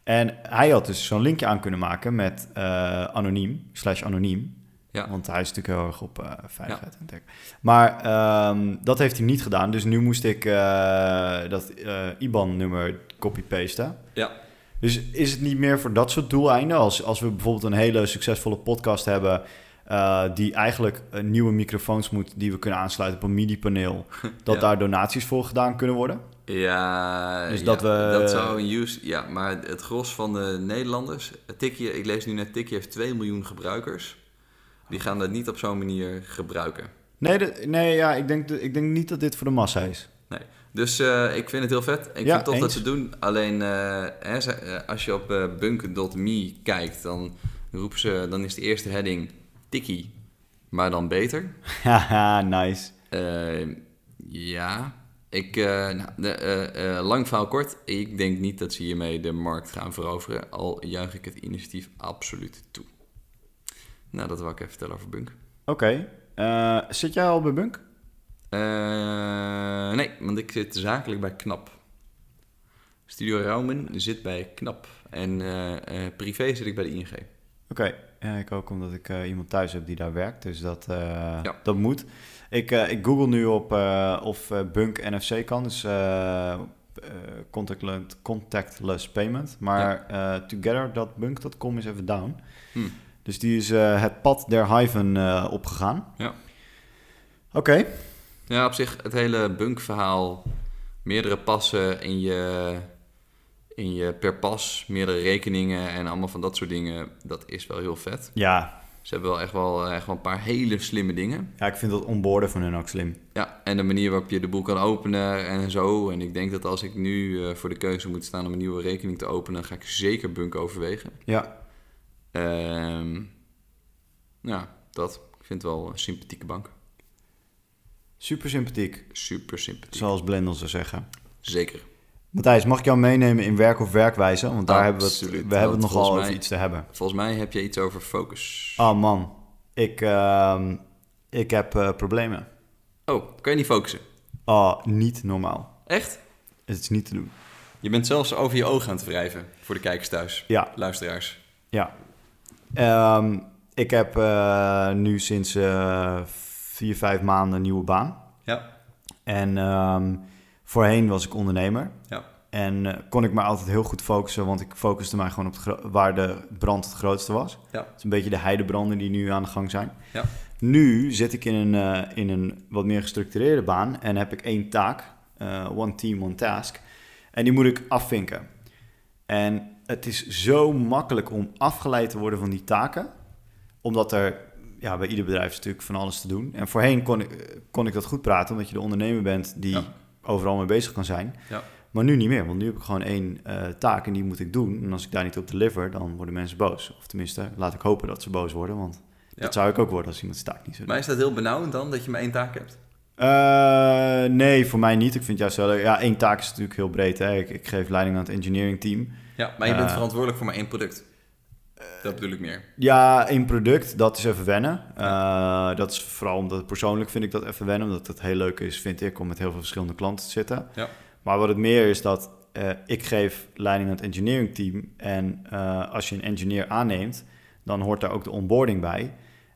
[SPEAKER 1] En hij had dus zo'n linkje aan kunnen maken met eh, anoniem, slash anoniem.
[SPEAKER 2] Ja.
[SPEAKER 1] Want hij is natuurlijk heel erg op eh, veiligheid en tech. Maar ehm, dat heeft hij niet gedaan. Dus nu moest ik eh, dat IBAN-nummer copy-pasten.
[SPEAKER 2] Ja.
[SPEAKER 1] Dus is het niet meer voor dat soort doeleinden? Als, als we bijvoorbeeld een hele succesvolle podcast hebben... eh, die eigenlijk eh, nieuwe microfoons moet... die we kunnen aansluiten op een
[SPEAKER 2] [laughs]
[SPEAKER 1] MIDI-paneel... dat
[SPEAKER 2] Ja.
[SPEAKER 1] daar donaties voor gedaan kunnen worden?
[SPEAKER 2] Ja,
[SPEAKER 1] Dus
[SPEAKER 2] ja,
[SPEAKER 1] dat we-
[SPEAKER 2] dat zou een use... Ja, maar het gros van de Nederlanders... Tikkie, ik lees nu net, Tikkie heeft 2 miljoen gebruikers. Die gaan dat niet op zo'n manier gebruiken.
[SPEAKER 1] Nee, dat- nee ja, ik, denk, dat- ik denk niet dat dit voor de massa is.
[SPEAKER 2] Nee. Dus eh, ik vind het heel vet. Ik vind
[SPEAKER 1] Ja,
[SPEAKER 2] het tof dat
[SPEAKER 1] eens.
[SPEAKER 2] ze het doen. Alleen eh, hè, ze- eh, als je op eh, bunk.me kijkt, dan roepen ze, dan is de eerste heading tikkie, maar dan beter.
[SPEAKER 1] [laughs] Haha, nice.
[SPEAKER 2] Eh, ja, ik, eh, nou, de, eh, eh, lang verhaal kort. Ik denk niet dat ze hiermee de markt gaan veroveren. Al juich ik het initiatief absoluut toe. Nou, dat wil ik even vertellen over bunk.
[SPEAKER 1] Oké. eh, zit jij al bij Bunk?
[SPEAKER 2] Eh, nee, want ik zit zakelijk bij Knap. Studio Raumen zit bij Knap. En eh, eh, privé zit ik bij de ING.
[SPEAKER 1] Oké, ja, ik ook omdat ik eh, iemand thuis heb die daar werkt, dus dat, eh,
[SPEAKER 2] Ja.
[SPEAKER 1] dat moet. Ik, eh, ik google nu op eh, of eh, Bunk NFC kan, dus eh, eh, contactless, contactless payment. Maar eh, together.bunk.com is even down.
[SPEAKER 2] Hm.
[SPEAKER 1] Dus die is eh, het pad der hyven eh, opgegaan.
[SPEAKER 2] Ja.
[SPEAKER 1] Oké,
[SPEAKER 2] Ja, op zich het hele bunkverhaal. Meerdere passen in je, in je per pas, meerdere rekeningen en allemaal van dat soort dingen. Dat is wel heel vet.
[SPEAKER 1] ja.
[SPEAKER 2] Ze hebben wel echt wel, eh, echt wel een paar hele slimme dingen.
[SPEAKER 1] ja, ik vind dat onboarden van hun ook slim.
[SPEAKER 2] Ja, en de manier waarop je de boel kan openen en zo. En ik denk dat als ik nu eh, voor de keuze moet staan om een nieuwe rekening te openen, ga ik zeker bunk overwegen.
[SPEAKER 1] Ja,
[SPEAKER 2] Ehm ja, dat. Ik vind het wel een sympathieke bank.
[SPEAKER 1] super sympathiek,
[SPEAKER 2] Super sympathiek.
[SPEAKER 1] zoals Blendel zou zeggen.
[SPEAKER 2] Zeker.
[SPEAKER 1] Matthijs, mag ik jou meenemen in werk of werkwijze? Want daar hebben we het,
[SPEAKER 2] Absoluut,
[SPEAKER 1] we hebben het
[SPEAKER 2] want
[SPEAKER 1] nogal
[SPEAKER 2] volgens
[SPEAKER 1] over
[SPEAKER 2] mij-
[SPEAKER 1] iets te hebben. Ah,
[SPEAKER 2] Volgens mij heb je iets over focus.
[SPEAKER 1] Oh man, ik, ehm, ik heb eh, problemen.
[SPEAKER 2] Oh, kan je niet focussen?
[SPEAKER 1] Ah, niet normaal.
[SPEAKER 2] Echt?
[SPEAKER 1] Het is niet te doen.
[SPEAKER 2] Je bent zelfs over je ogen aan het wrijven voor de kijkers thuis,
[SPEAKER 1] Ja,
[SPEAKER 2] luisteraars.
[SPEAKER 1] ja. Ehm, ik heb eh, nu sinds eh, vier, vijf maanden een nieuwe baan.
[SPEAKER 2] Ja.
[SPEAKER 1] En ehm, voorheen was ik ondernemer.
[SPEAKER 2] Ja.
[SPEAKER 1] En eh, kon ik me altijd heel goed focussen, want ik focuste mij gewoon op het gro- waar de brand het grootste was.
[SPEAKER 2] Ja.
[SPEAKER 1] Het is een beetje de heidebranden die nu aan de gang zijn.
[SPEAKER 2] Ja.
[SPEAKER 1] Nu zit ik in een, eh, in een wat meer gestructureerde baan en heb ik één taak, eh, one team, one task. En die moet ik afvinken. En het is zo makkelijk om afgeleid te worden van die taken, omdat er ja, bij ieder bedrijf is natuurlijk van alles te doen. En voorheen kon ik, eh, kon ik dat goed praten, omdat je de ondernemer bent die
[SPEAKER 2] Ja.
[SPEAKER 1] overal mee bezig kan zijn.
[SPEAKER 2] Ja.
[SPEAKER 1] Maar nu niet meer, want nu heb ik gewoon één eh, taak en die moet ik doen. En als ik daar niet op deliver, dan worden mensen boos. Of tenminste, laat ik hopen dat ze boos worden, want
[SPEAKER 2] Ja.
[SPEAKER 1] dat zou ik ook worden als iemand zijn taak niet zou doen.
[SPEAKER 2] Maar is dat heel benauwend dan, dat je maar één taak hebt?
[SPEAKER 1] Eh, nee, voor mij niet. Ik vind het juist wel leuk. Ja, één taak is natuurlijk heel breed. Hè. Ik, ik geef leiding aan het engineering team.
[SPEAKER 2] Ja, maar je bent
[SPEAKER 1] Eh.
[SPEAKER 2] verantwoordelijk voor maar één product. Dat bedoel ik meer.
[SPEAKER 1] Ja, in product, dat is even wennen. Eh, dat is vooral omdat persoonlijk vind ik dat even wennen. Omdat het heel leuk is, vind ik, om met heel veel verschillende klanten te zitten.
[SPEAKER 2] Ja.
[SPEAKER 1] Maar wat het meer is dat eh, ik geef leiding aan het engineering team. En eh, als je een engineer aanneemt, dan hoort daar ook de onboarding bij.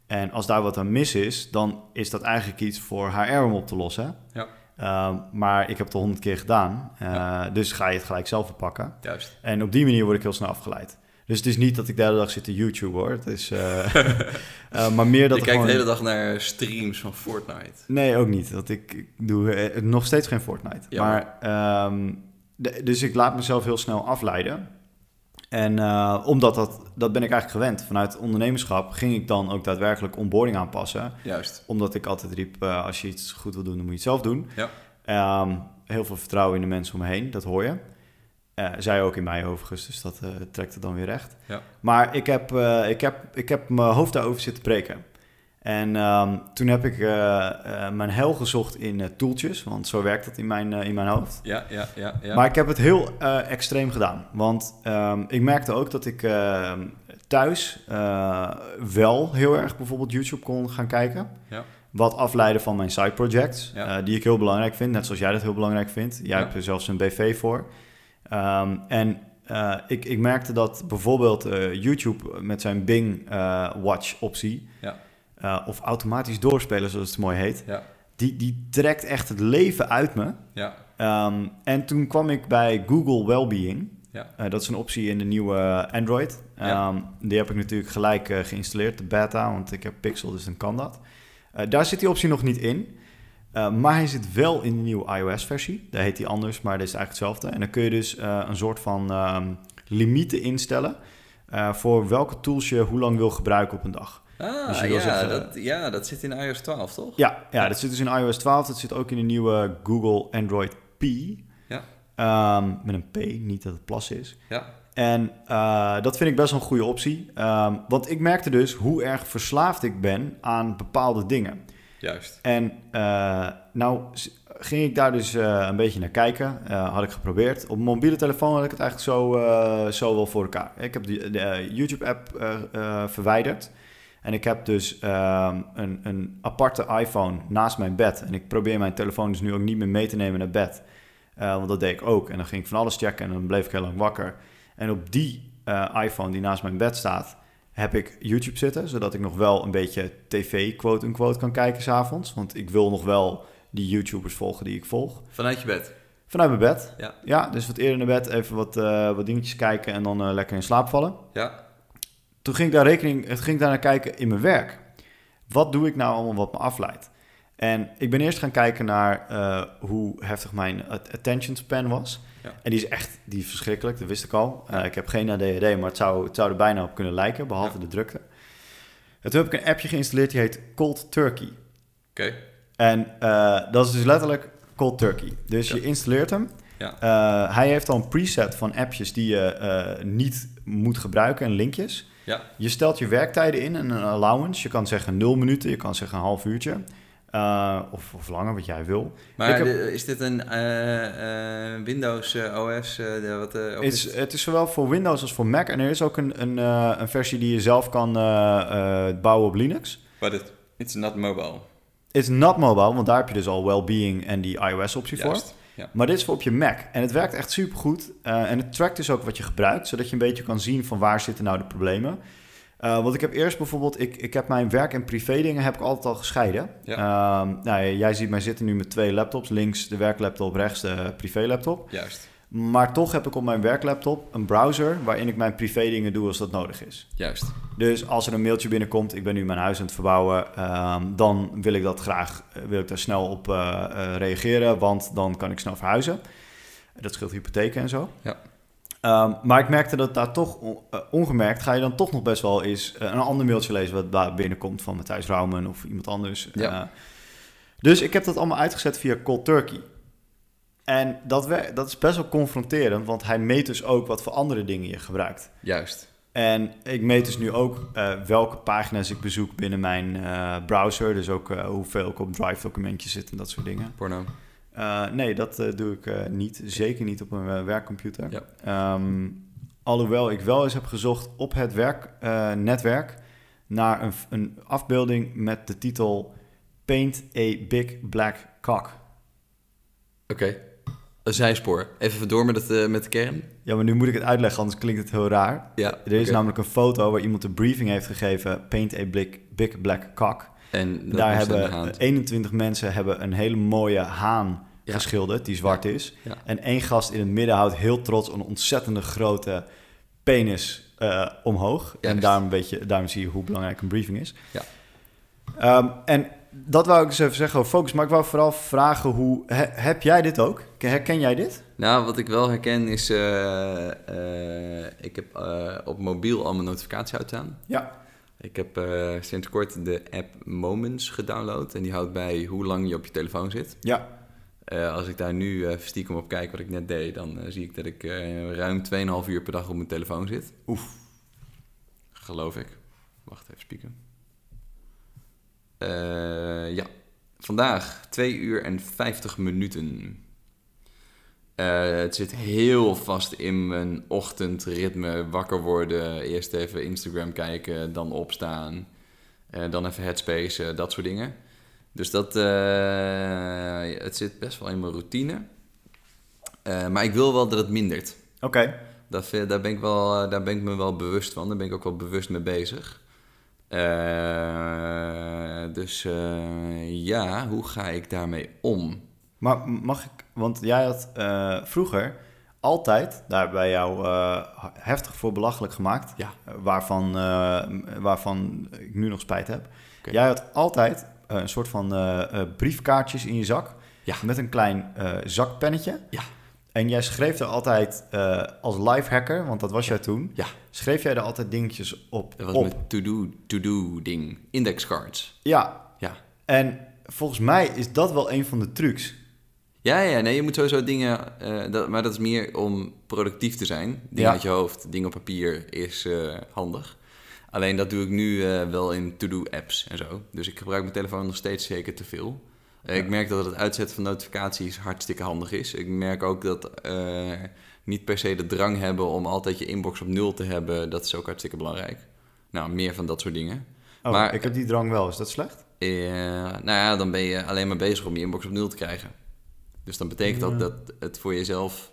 [SPEAKER 1] En als daar wat aan mis is, dan is dat eigenlijk iets voor HR om op te lossen.
[SPEAKER 2] Ja.
[SPEAKER 1] Eh, maar ik heb het al honderd keer gedaan. Eh, Dus ga je het gelijk zelf verpakken.
[SPEAKER 2] Juist.
[SPEAKER 1] En op die manier word ik heel snel afgeleid. Dus het is niet dat ik de hele dag zit te YouTube hoor. Het is,
[SPEAKER 2] [laughs]
[SPEAKER 1] eh, eh, maar meer dat
[SPEAKER 2] je kijkt
[SPEAKER 1] er gewoon...
[SPEAKER 2] de hele dag naar streams van Fortnite.
[SPEAKER 1] Nee, ook niet. Want ik, ik doe eh, nog steeds geen Fortnite.
[SPEAKER 2] Jammer.
[SPEAKER 1] Maar, ehm, de- dus ik laat mezelf heel snel afleiden. En eh, omdat dat, dat ben ik eigenlijk gewend. Vanuit ondernemerschap ging ik dan ook daadwerkelijk onboarding aanpassen
[SPEAKER 2] Juist.
[SPEAKER 1] omdat ik altijd riep, eh, als je iets goed wil doen, dan moet je het zelf doen.
[SPEAKER 2] Ja.
[SPEAKER 1] Ehm, heel veel vertrouwen in de mensen om me heen, dat hoor je. Eh, zij ook in mij overigens, dus dat eh, trekt het dan weer recht.
[SPEAKER 2] Ja.
[SPEAKER 1] Maar ik heb, eh, ik, heb, ik heb mijn hoofd daarover zitten breken. En ehm, toen heb ik eh, eh, mijn hel gezocht in eh, toeltjes, want zo werkt dat in mijn, eh, in mijn hoofd.
[SPEAKER 2] Ja, ja, ja. ja.
[SPEAKER 1] Maar ik heb het heel eh, extreem gedaan. Want ehm, ik merkte ook dat ik ehm, thuis eh, wel heel erg bijvoorbeeld YouTube kon gaan kijken.
[SPEAKER 2] Ja.
[SPEAKER 1] Wat afleiden van mijn side projects.
[SPEAKER 2] Ja.
[SPEAKER 1] eh, die ik heel belangrijk vind. Net zoals jij dat heel belangrijk vindt. Jij
[SPEAKER 2] Ja.
[SPEAKER 1] hebt er zelfs een BV voor. Ehm, en eh, ik, ik merkte dat bijvoorbeeld eh, YouTube met zijn Bing eh, Watch optie.
[SPEAKER 2] Ja.
[SPEAKER 1] eh, of automatisch doorspelen, zoals het mooi heet.
[SPEAKER 2] Ja.
[SPEAKER 1] Die, die trekt echt het leven uit me.
[SPEAKER 2] Ja,
[SPEAKER 1] Ehm, en toen kwam ik bij Google Wellbeing.
[SPEAKER 2] Ja.
[SPEAKER 1] Eh, dat is een optie in de nieuwe Android.
[SPEAKER 2] Ja.
[SPEAKER 1] Ehm, Die heb ik natuurlijk gelijk eh, geïnstalleerd, de beta, want ik heb Pixel, dus dan kan dat. Eh, daar zit die optie nog niet in. Eh, maar hij zit wel in de nieuwe iOS-versie. Daar heet hij anders, maar dat is eigenlijk hetzelfde. En dan kun je dus eh, een soort van ehm, limieten instellen eh, voor welke tools je hoe lang wil gebruiken op een dag.
[SPEAKER 2] ah,
[SPEAKER 1] Dus je wil
[SPEAKER 2] ja,
[SPEAKER 1] zeggen-
[SPEAKER 2] dat, ja, dat zit in iOS 12, toch?
[SPEAKER 1] Ja, ja, dat zit dus in iOS 12. Dat zit ook in de nieuwe Google Android P.
[SPEAKER 2] Ja.
[SPEAKER 1] Ehm, met een P, niet dat het plas is.
[SPEAKER 2] Ja.
[SPEAKER 1] En eh, dat vind ik best wel een goede optie. Ehm, want ik merkte dus hoe erg verslaafd ik ben aan bepaalde dingen.
[SPEAKER 2] Juist.
[SPEAKER 1] En eh, nou s- ging ik daar dus eh, een beetje naar kijken. Eh, had ik geprobeerd. Op mijn mobiele telefoon had ik het eigenlijk zo, eh, zo wel voor elkaar. Ik heb die- de, eh, YouTube-app eh, eh, verwijderd. En ik heb dus ehm, een, een aparte iPhone naast mijn bed. En ik probeer mijn telefoon dus nu ook niet meer mee te nemen naar bed. Eh, want dat deed ik ook. En dan ging ik van alles checken en dan bleef ik heel lang wakker. En op die eh, iPhone die naast mijn bed staat, heb ik YouTube zitten. Zodat ik nog wel een beetje tv, quote-unquote, kan kijken s'avonds. Want ik wil nog wel die YouTubers volgen die ik volg.
[SPEAKER 2] Vanuit je bed.
[SPEAKER 1] Vanuit mijn bed.
[SPEAKER 2] Ja.
[SPEAKER 1] dus wat eerder naar bed, even wat, eh, wat dingetjes kijken en dan eh, lekker in slaap vallen.
[SPEAKER 2] Ja.
[SPEAKER 1] Toen ging ik daar rekening, het ging ik daar naar kijken in mijn werk. Wat doe ik nou allemaal wat me afleidt? En ik ben eerst gaan kijken naar eh, hoe heftig mijn at- attention span was.
[SPEAKER 2] Ja.
[SPEAKER 1] En die is echt die is verschrikkelijk, dat wist ik al. Eh, ik heb geen ADHD, maar het zou, het zou er bijna op kunnen lijken, behalve de drukte. En toen heb ik een appje geïnstalleerd die heet Cold Turkey.
[SPEAKER 2] Oké.
[SPEAKER 1] En eh, dat is dus letterlijk cold turkey. Dus je installeert hem.
[SPEAKER 2] Ja.
[SPEAKER 1] Eh, hij heeft al een preset van appjes die je eh, niet moet gebruiken en linkjes.
[SPEAKER 2] Ja.
[SPEAKER 1] Je stelt je werktijden in en een allowance. Je kan zeggen 0 minuten, je kan zeggen een half uurtje. Eh, of, of langer, wat jij wil.
[SPEAKER 2] Maar
[SPEAKER 1] Ik heb-
[SPEAKER 2] de- is dit een eh, eh, Windows eh, OS? eh, de- wat, eh, of
[SPEAKER 1] Het
[SPEAKER 2] is-
[SPEAKER 1] is, het is zowel voor Windows als voor Mac. En er is ook een, een, eh, een versie die je zelf kan eh, eh, bouwen op Linux.
[SPEAKER 2] But it, it's not mobile.
[SPEAKER 1] It's not mobile, want daar heb je dus al well-being en die iOS-optie voor.
[SPEAKER 2] Juist.
[SPEAKER 1] Maar dit is voor op je Mac. En het werkt echt supergoed. Eh en het trackt dus ook wat je gebruikt, zodat je een beetje kan zien van waar zitten nou de problemen. Eh, want ik heb eerst bijvoorbeeld, ik, ik heb mijn werk en privé dingen heb ik altijd al gescheiden.
[SPEAKER 2] Ja.
[SPEAKER 1] Ehm, nou, ja, jij ziet mij zitten nu met twee laptops. Links de werklaptop, rechts de privélaptop.
[SPEAKER 2] Juist.
[SPEAKER 1] Maar toch heb ik op mijn werklaptop een browser waarin ik mijn privé dingen doe als dat nodig is.
[SPEAKER 2] Juist.
[SPEAKER 1] Dus als er een mailtje binnenkomt, ik ben nu mijn huis aan het verbouwen, ehm, dan wil ik dat graag, eh, wil ik daar snel op eh, eh, reageren, want dan kan ik snel verhuizen. Dat scheelt hypotheken en zo.
[SPEAKER 2] Ja.
[SPEAKER 1] Ehm, maar ik merkte dat daar toch on- eh, ongemerkt ga je dan toch nog best wel eens eh, een ander mailtje lezen wat daar binnenkomt van Matthijs Rauwman of iemand anders.
[SPEAKER 2] Ja.
[SPEAKER 1] Eh, dus ik heb dat allemaal uitgezet via Cold Turkey. En dat, we- dat is best wel confronterend, want hij meet dus ook wat voor andere dingen je gebruikt.
[SPEAKER 2] Juist.
[SPEAKER 1] En ik meet dus nu ook eh, welke pagina's ik bezoek binnen mijn eh, browser. Dus ook eh, hoeveel ik op Drive-documentjes zit en dat soort dingen.
[SPEAKER 2] Porno.
[SPEAKER 1] Eh, nee, dat eh, doe ik eh, niet. Zeker niet op een eh, werkcomputer.
[SPEAKER 2] Ja.
[SPEAKER 1] Ehm, alhoewel ik wel eens heb gezocht op het werknetwerk netwerk naar een, f- een afbeelding met de titel Paint a Big Black Cock.
[SPEAKER 2] Oké. Een zijspoor. Even door met, het, eh, met de kern.
[SPEAKER 1] Ja, maar nu moet ik het uitleggen, anders klinkt het heel raar.
[SPEAKER 2] Ja.
[SPEAKER 1] Er is
[SPEAKER 2] oké.
[SPEAKER 1] namelijk een foto waar iemand de briefing heeft gegeven: Paint a Big, big Black Cock.
[SPEAKER 2] En dat
[SPEAKER 1] Daar
[SPEAKER 2] moest aan de
[SPEAKER 1] hebben
[SPEAKER 2] hand.
[SPEAKER 1] 21 mensen hebben een hele mooie haan
[SPEAKER 2] Ja.
[SPEAKER 1] geschilderd die zwart is.
[SPEAKER 2] Ja.
[SPEAKER 1] En één gast in het midden houdt heel trots een ontzettende grote penis eh, omhoog. En
[SPEAKER 2] Juist.
[SPEAKER 1] daarom, weet je, daarom zie je hoe belangrijk een briefing is.
[SPEAKER 2] dus- Ja.
[SPEAKER 1] Ehm, en dat wou ik eens even zeggen over focus. Maar ik wou vooral vragen hoe... he- heb jij dit ook? Herken jij dit?
[SPEAKER 2] Nou, wat ik wel herken is... eh, eh, ik heb eh, op mobiel al mijn notificatie uit aan.
[SPEAKER 1] Ja.
[SPEAKER 2] Ik heb eh, sinds kort de app Moments gedownload. En die houdt bij hoe lang je op je telefoon zit.
[SPEAKER 1] Ja.
[SPEAKER 2] Eh, als ik daar nu eh, stiekem op kijk wat ik net deed... dan eh, zie ik dat ik eh, ruim 2,5 uur per dag op mijn telefoon zit.
[SPEAKER 1] Oef.
[SPEAKER 2] Geloof ik. Wacht even, spieken. Eh, ja, vandaag 2 uur en 50 minuten. Eh, het zit heel vast in mijn ochtendritme. Wakker worden, eerst even Instagram kijken, dan opstaan. eh, dan even headspace, eh, dat soort dingen. Dus dat, eh, het zit best wel in mijn routine. Eh, maar ik wil wel dat het mindert.
[SPEAKER 1] Oké.
[SPEAKER 2] Dat, vind- daar, ben ik wel, eh, daar ben ik me wel bewust van. Daar ben ik ook wel bewust mee bezig. Eh, dus eh, ja, hoe ga ik daarmee om?
[SPEAKER 1] Maar mag ik, want jij had eh, vroeger altijd, daar bij jou eh, heftig voor belachelijk gemaakt,
[SPEAKER 2] Ja.
[SPEAKER 1] eh, waarvan, eh, waarvan ik nu nog spijt heb.
[SPEAKER 2] Oké.
[SPEAKER 1] Jij had altijd eh, een soort van eh, eh, briefkaartjes in je zak
[SPEAKER 2] Ja.
[SPEAKER 1] met een klein eh, zakpennetje.
[SPEAKER 2] Ja.
[SPEAKER 1] En jij schreef er altijd eh, als lifehacker, want dat was jij toen,
[SPEAKER 2] Ja.
[SPEAKER 1] schreef jij er altijd dingetjes op.
[SPEAKER 2] Dat was
[SPEAKER 1] op.
[SPEAKER 2] mijn to-do, to-do ding. Indexcards.
[SPEAKER 1] Ja,
[SPEAKER 2] Ja.
[SPEAKER 1] en volgens mij is dat wel een van de trucs.
[SPEAKER 2] Ja, ja, nee, je moet sowieso dingen... eh, dat, maar dat is meer om productief te zijn. Dingen
[SPEAKER 1] Ja.
[SPEAKER 2] uit je hoofd, dingen op papier is eh, handig. Alleen dat doe ik nu eh, wel in to-do-apps en zo. Dus ik gebruik mijn telefoon nog steeds zeker te veel. Eh, Ik merk dat het uitzetten van notificaties hartstikke handig is. Ik merk ook dat eh, niet per se de drang hebben om altijd je inbox op nul te hebben. Dat is ook hartstikke belangrijk. Nou, meer van dat soort dingen.
[SPEAKER 1] Oh,
[SPEAKER 2] Maar-
[SPEAKER 1] ik heb die drang wel, is dat slecht?
[SPEAKER 2] Eh, nou ja, dan ben je alleen maar bezig om je inbox op nul te krijgen. Dus dan betekent dat dat het voor jezelf...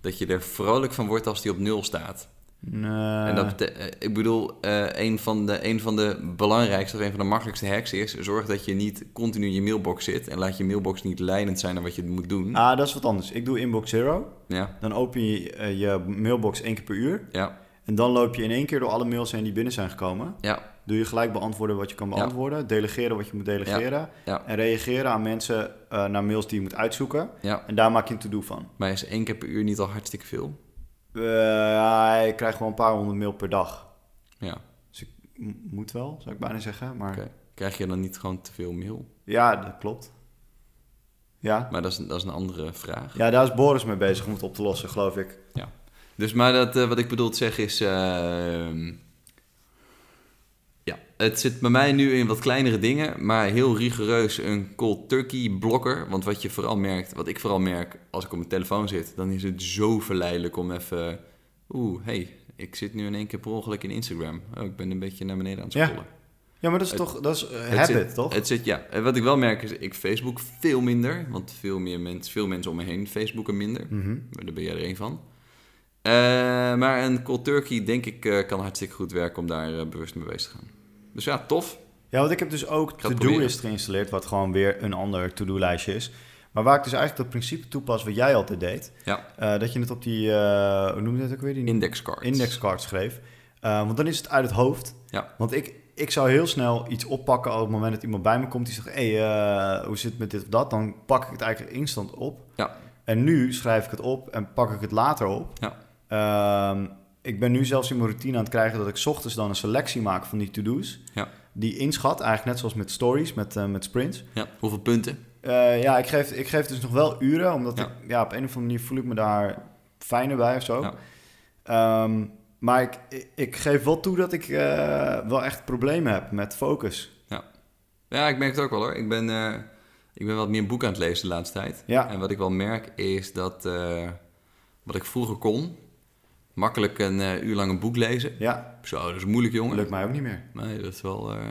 [SPEAKER 2] dat je er vrolijk van wordt als die op nul staat.
[SPEAKER 1] Nee.
[SPEAKER 2] En dat bete- eh, ik bedoel, eh, een, van de, een van de belangrijkste of een van de makkelijkste hacks is... zorg dat je niet continu in je mailbox zit... en laat je mailbox niet leidend zijn naar wat je moet doen.
[SPEAKER 1] Ah, dat is wat anders. Ik doe inbox zero.
[SPEAKER 2] Ja,
[SPEAKER 1] Dan open je eh, je mailbox één keer per uur.
[SPEAKER 2] ja,
[SPEAKER 1] En dan loop je in één keer door alle mails heen die binnen zijn gekomen.
[SPEAKER 2] ja,
[SPEAKER 1] Doe je gelijk beantwoorden wat je kan
[SPEAKER 2] Ja.
[SPEAKER 1] beantwoorden. Delegeren wat je moet delegeren.
[SPEAKER 2] ja,
[SPEAKER 1] En reageren aan mensen eh, naar mails die je moet uitzoeken.
[SPEAKER 2] ja.
[SPEAKER 1] En daar maak je een to-do van.
[SPEAKER 2] Maar is één keer per uur niet al hartstikke veel?
[SPEAKER 1] Eh ik krijg gewoon een paar honderd mail per dag.
[SPEAKER 2] Ja,
[SPEAKER 1] M- moet wel, zou ik bijna zeggen. Maar
[SPEAKER 2] oké. Krijg je dan niet gewoon te veel mail?
[SPEAKER 1] ja, dat klopt. Ja.
[SPEAKER 2] Maar dat is, een- dat is een andere vraag.
[SPEAKER 1] ja, daar is Boris mee bezig om het op te lossen, geloof ik.
[SPEAKER 2] Dus, maar dat, eh, wat ik bedoel te zeggen is... ehm, ja, het zit bij mij nu in wat kleinere dingen, maar heel rigoureus een cold turkey blokker. Want wat je vooral merkt, wat ik vooral merk als ik op mijn telefoon zit, dan is het zo verleidelijk om even... Oeh, hey, ik zit nu in één keer per ongeluk in Instagram. Oh, ik ben een beetje naar beneden aan het
[SPEAKER 1] Ja.
[SPEAKER 2] scrollen.
[SPEAKER 1] Ja, maar dat is
[SPEAKER 2] Het-
[SPEAKER 1] toch, dat is eh,
[SPEAKER 2] Het
[SPEAKER 1] habit,
[SPEAKER 2] zit-
[SPEAKER 1] toch?
[SPEAKER 2] Het zit, ja. En Wat ik wel merk is, ik Facebook veel minder. Want veel, meer mens, veel mensen om me heen Facebooken minder.
[SPEAKER 1] Mhm.
[SPEAKER 2] Maar Daar ben jij er één van. Eh, maar een cold turkey, denk ik, eh, kan hartstikke goed werken om daar eh, bewust mee bezig te gaan. Dus ja, tof.
[SPEAKER 1] Ja, want ik heb dus ook
[SPEAKER 2] ga het
[SPEAKER 1] to-do-list geïnstalleerd, wat gewoon weer een ander to-do-lijstje is. Maar waar ik dus eigenlijk dat principe toepas wat jij altijd deed.
[SPEAKER 2] Ja.
[SPEAKER 1] Eh, dat je het op die, eh hoe noem je dat ook weer? Die
[SPEAKER 2] Indexcard.
[SPEAKER 1] indexcard schreef. Eh, want dan is het uit het hoofd.
[SPEAKER 2] Ja.
[SPEAKER 1] Want ik, ik zou heel snel iets oppakken op het moment dat iemand bij me komt die zegt: hey, eh, hoe zit het met dit of dat? Dan pak ik het eigenlijk instant op.
[SPEAKER 2] Ja.
[SPEAKER 1] En nu schrijf ik het op en pak ik het later op.
[SPEAKER 2] Ja.
[SPEAKER 1] Ehm, ik ben nu zelfs in mijn routine aan het krijgen dat ik 's ochtends dan een selectie maak van die to-do's.
[SPEAKER 2] Ja.
[SPEAKER 1] Die inschat, eigenlijk net zoals met stories, met, eh, met sprints.
[SPEAKER 2] ja. Hoeveel punten?
[SPEAKER 1] Eh, ja, ik geef, ik geef dus nog wel uren, omdat
[SPEAKER 2] Ja.
[SPEAKER 1] ik, ja, op een of andere manier voel ik me daar fijner bij of zo.
[SPEAKER 2] Ja.
[SPEAKER 1] Ehm, maar ik, ik, ik geef wel toe dat ik eh, wel echt problemen heb met focus.
[SPEAKER 2] Ja, ik merk het ook wel hoor. Ik ben, eh, ik ben wat meer boek aan het lezen de laatste tijd.
[SPEAKER 1] Ja.
[SPEAKER 2] En wat ik wel merk is dat eh, wat ik vroeger kon, makkelijk een eh, uur lang een boek lezen.
[SPEAKER 1] Ja,
[SPEAKER 2] Zo, dat is moeilijk jongen.
[SPEAKER 1] lukt mij ook niet meer.
[SPEAKER 2] Nee, dat is wel... eh,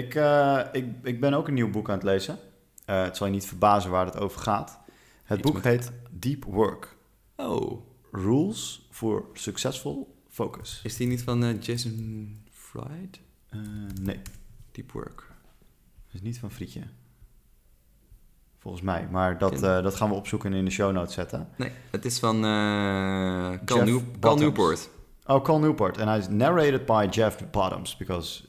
[SPEAKER 1] Ik, eh, ik, ik ben ook een nieuw boek aan het lezen. Eh, het zal je niet verbazen waar het over gaat. Het
[SPEAKER 2] Iets
[SPEAKER 1] boek
[SPEAKER 2] met-
[SPEAKER 1] heet Deep Work.
[SPEAKER 2] Oh,
[SPEAKER 1] Rules for Successful Focus.
[SPEAKER 2] is die niet van eh, Jason Fried?
[SPEAKER 1] Eh, nee,
[SPEAKER 2] Deep Work.
[SPEAKER 1] dat is niet van Frietje. Volgens mij. Maar dat,
[SPEAKER 2] Ken-
[SPEAKER 1] eh, dat gaan we opzoeken en in de show notes zetten.
[SPEAKER 2] Nee, het is van eh Cal,
[SPEAKER 1] Jeff
[SPEAKER 2] Nieuw- Cal
[SPEAKER 1] Bottoms.
[SPEAKER 2] Newport.
[SPEAKER 1] Oh, Call Newport. And it's narrated by Jeff Bottoms because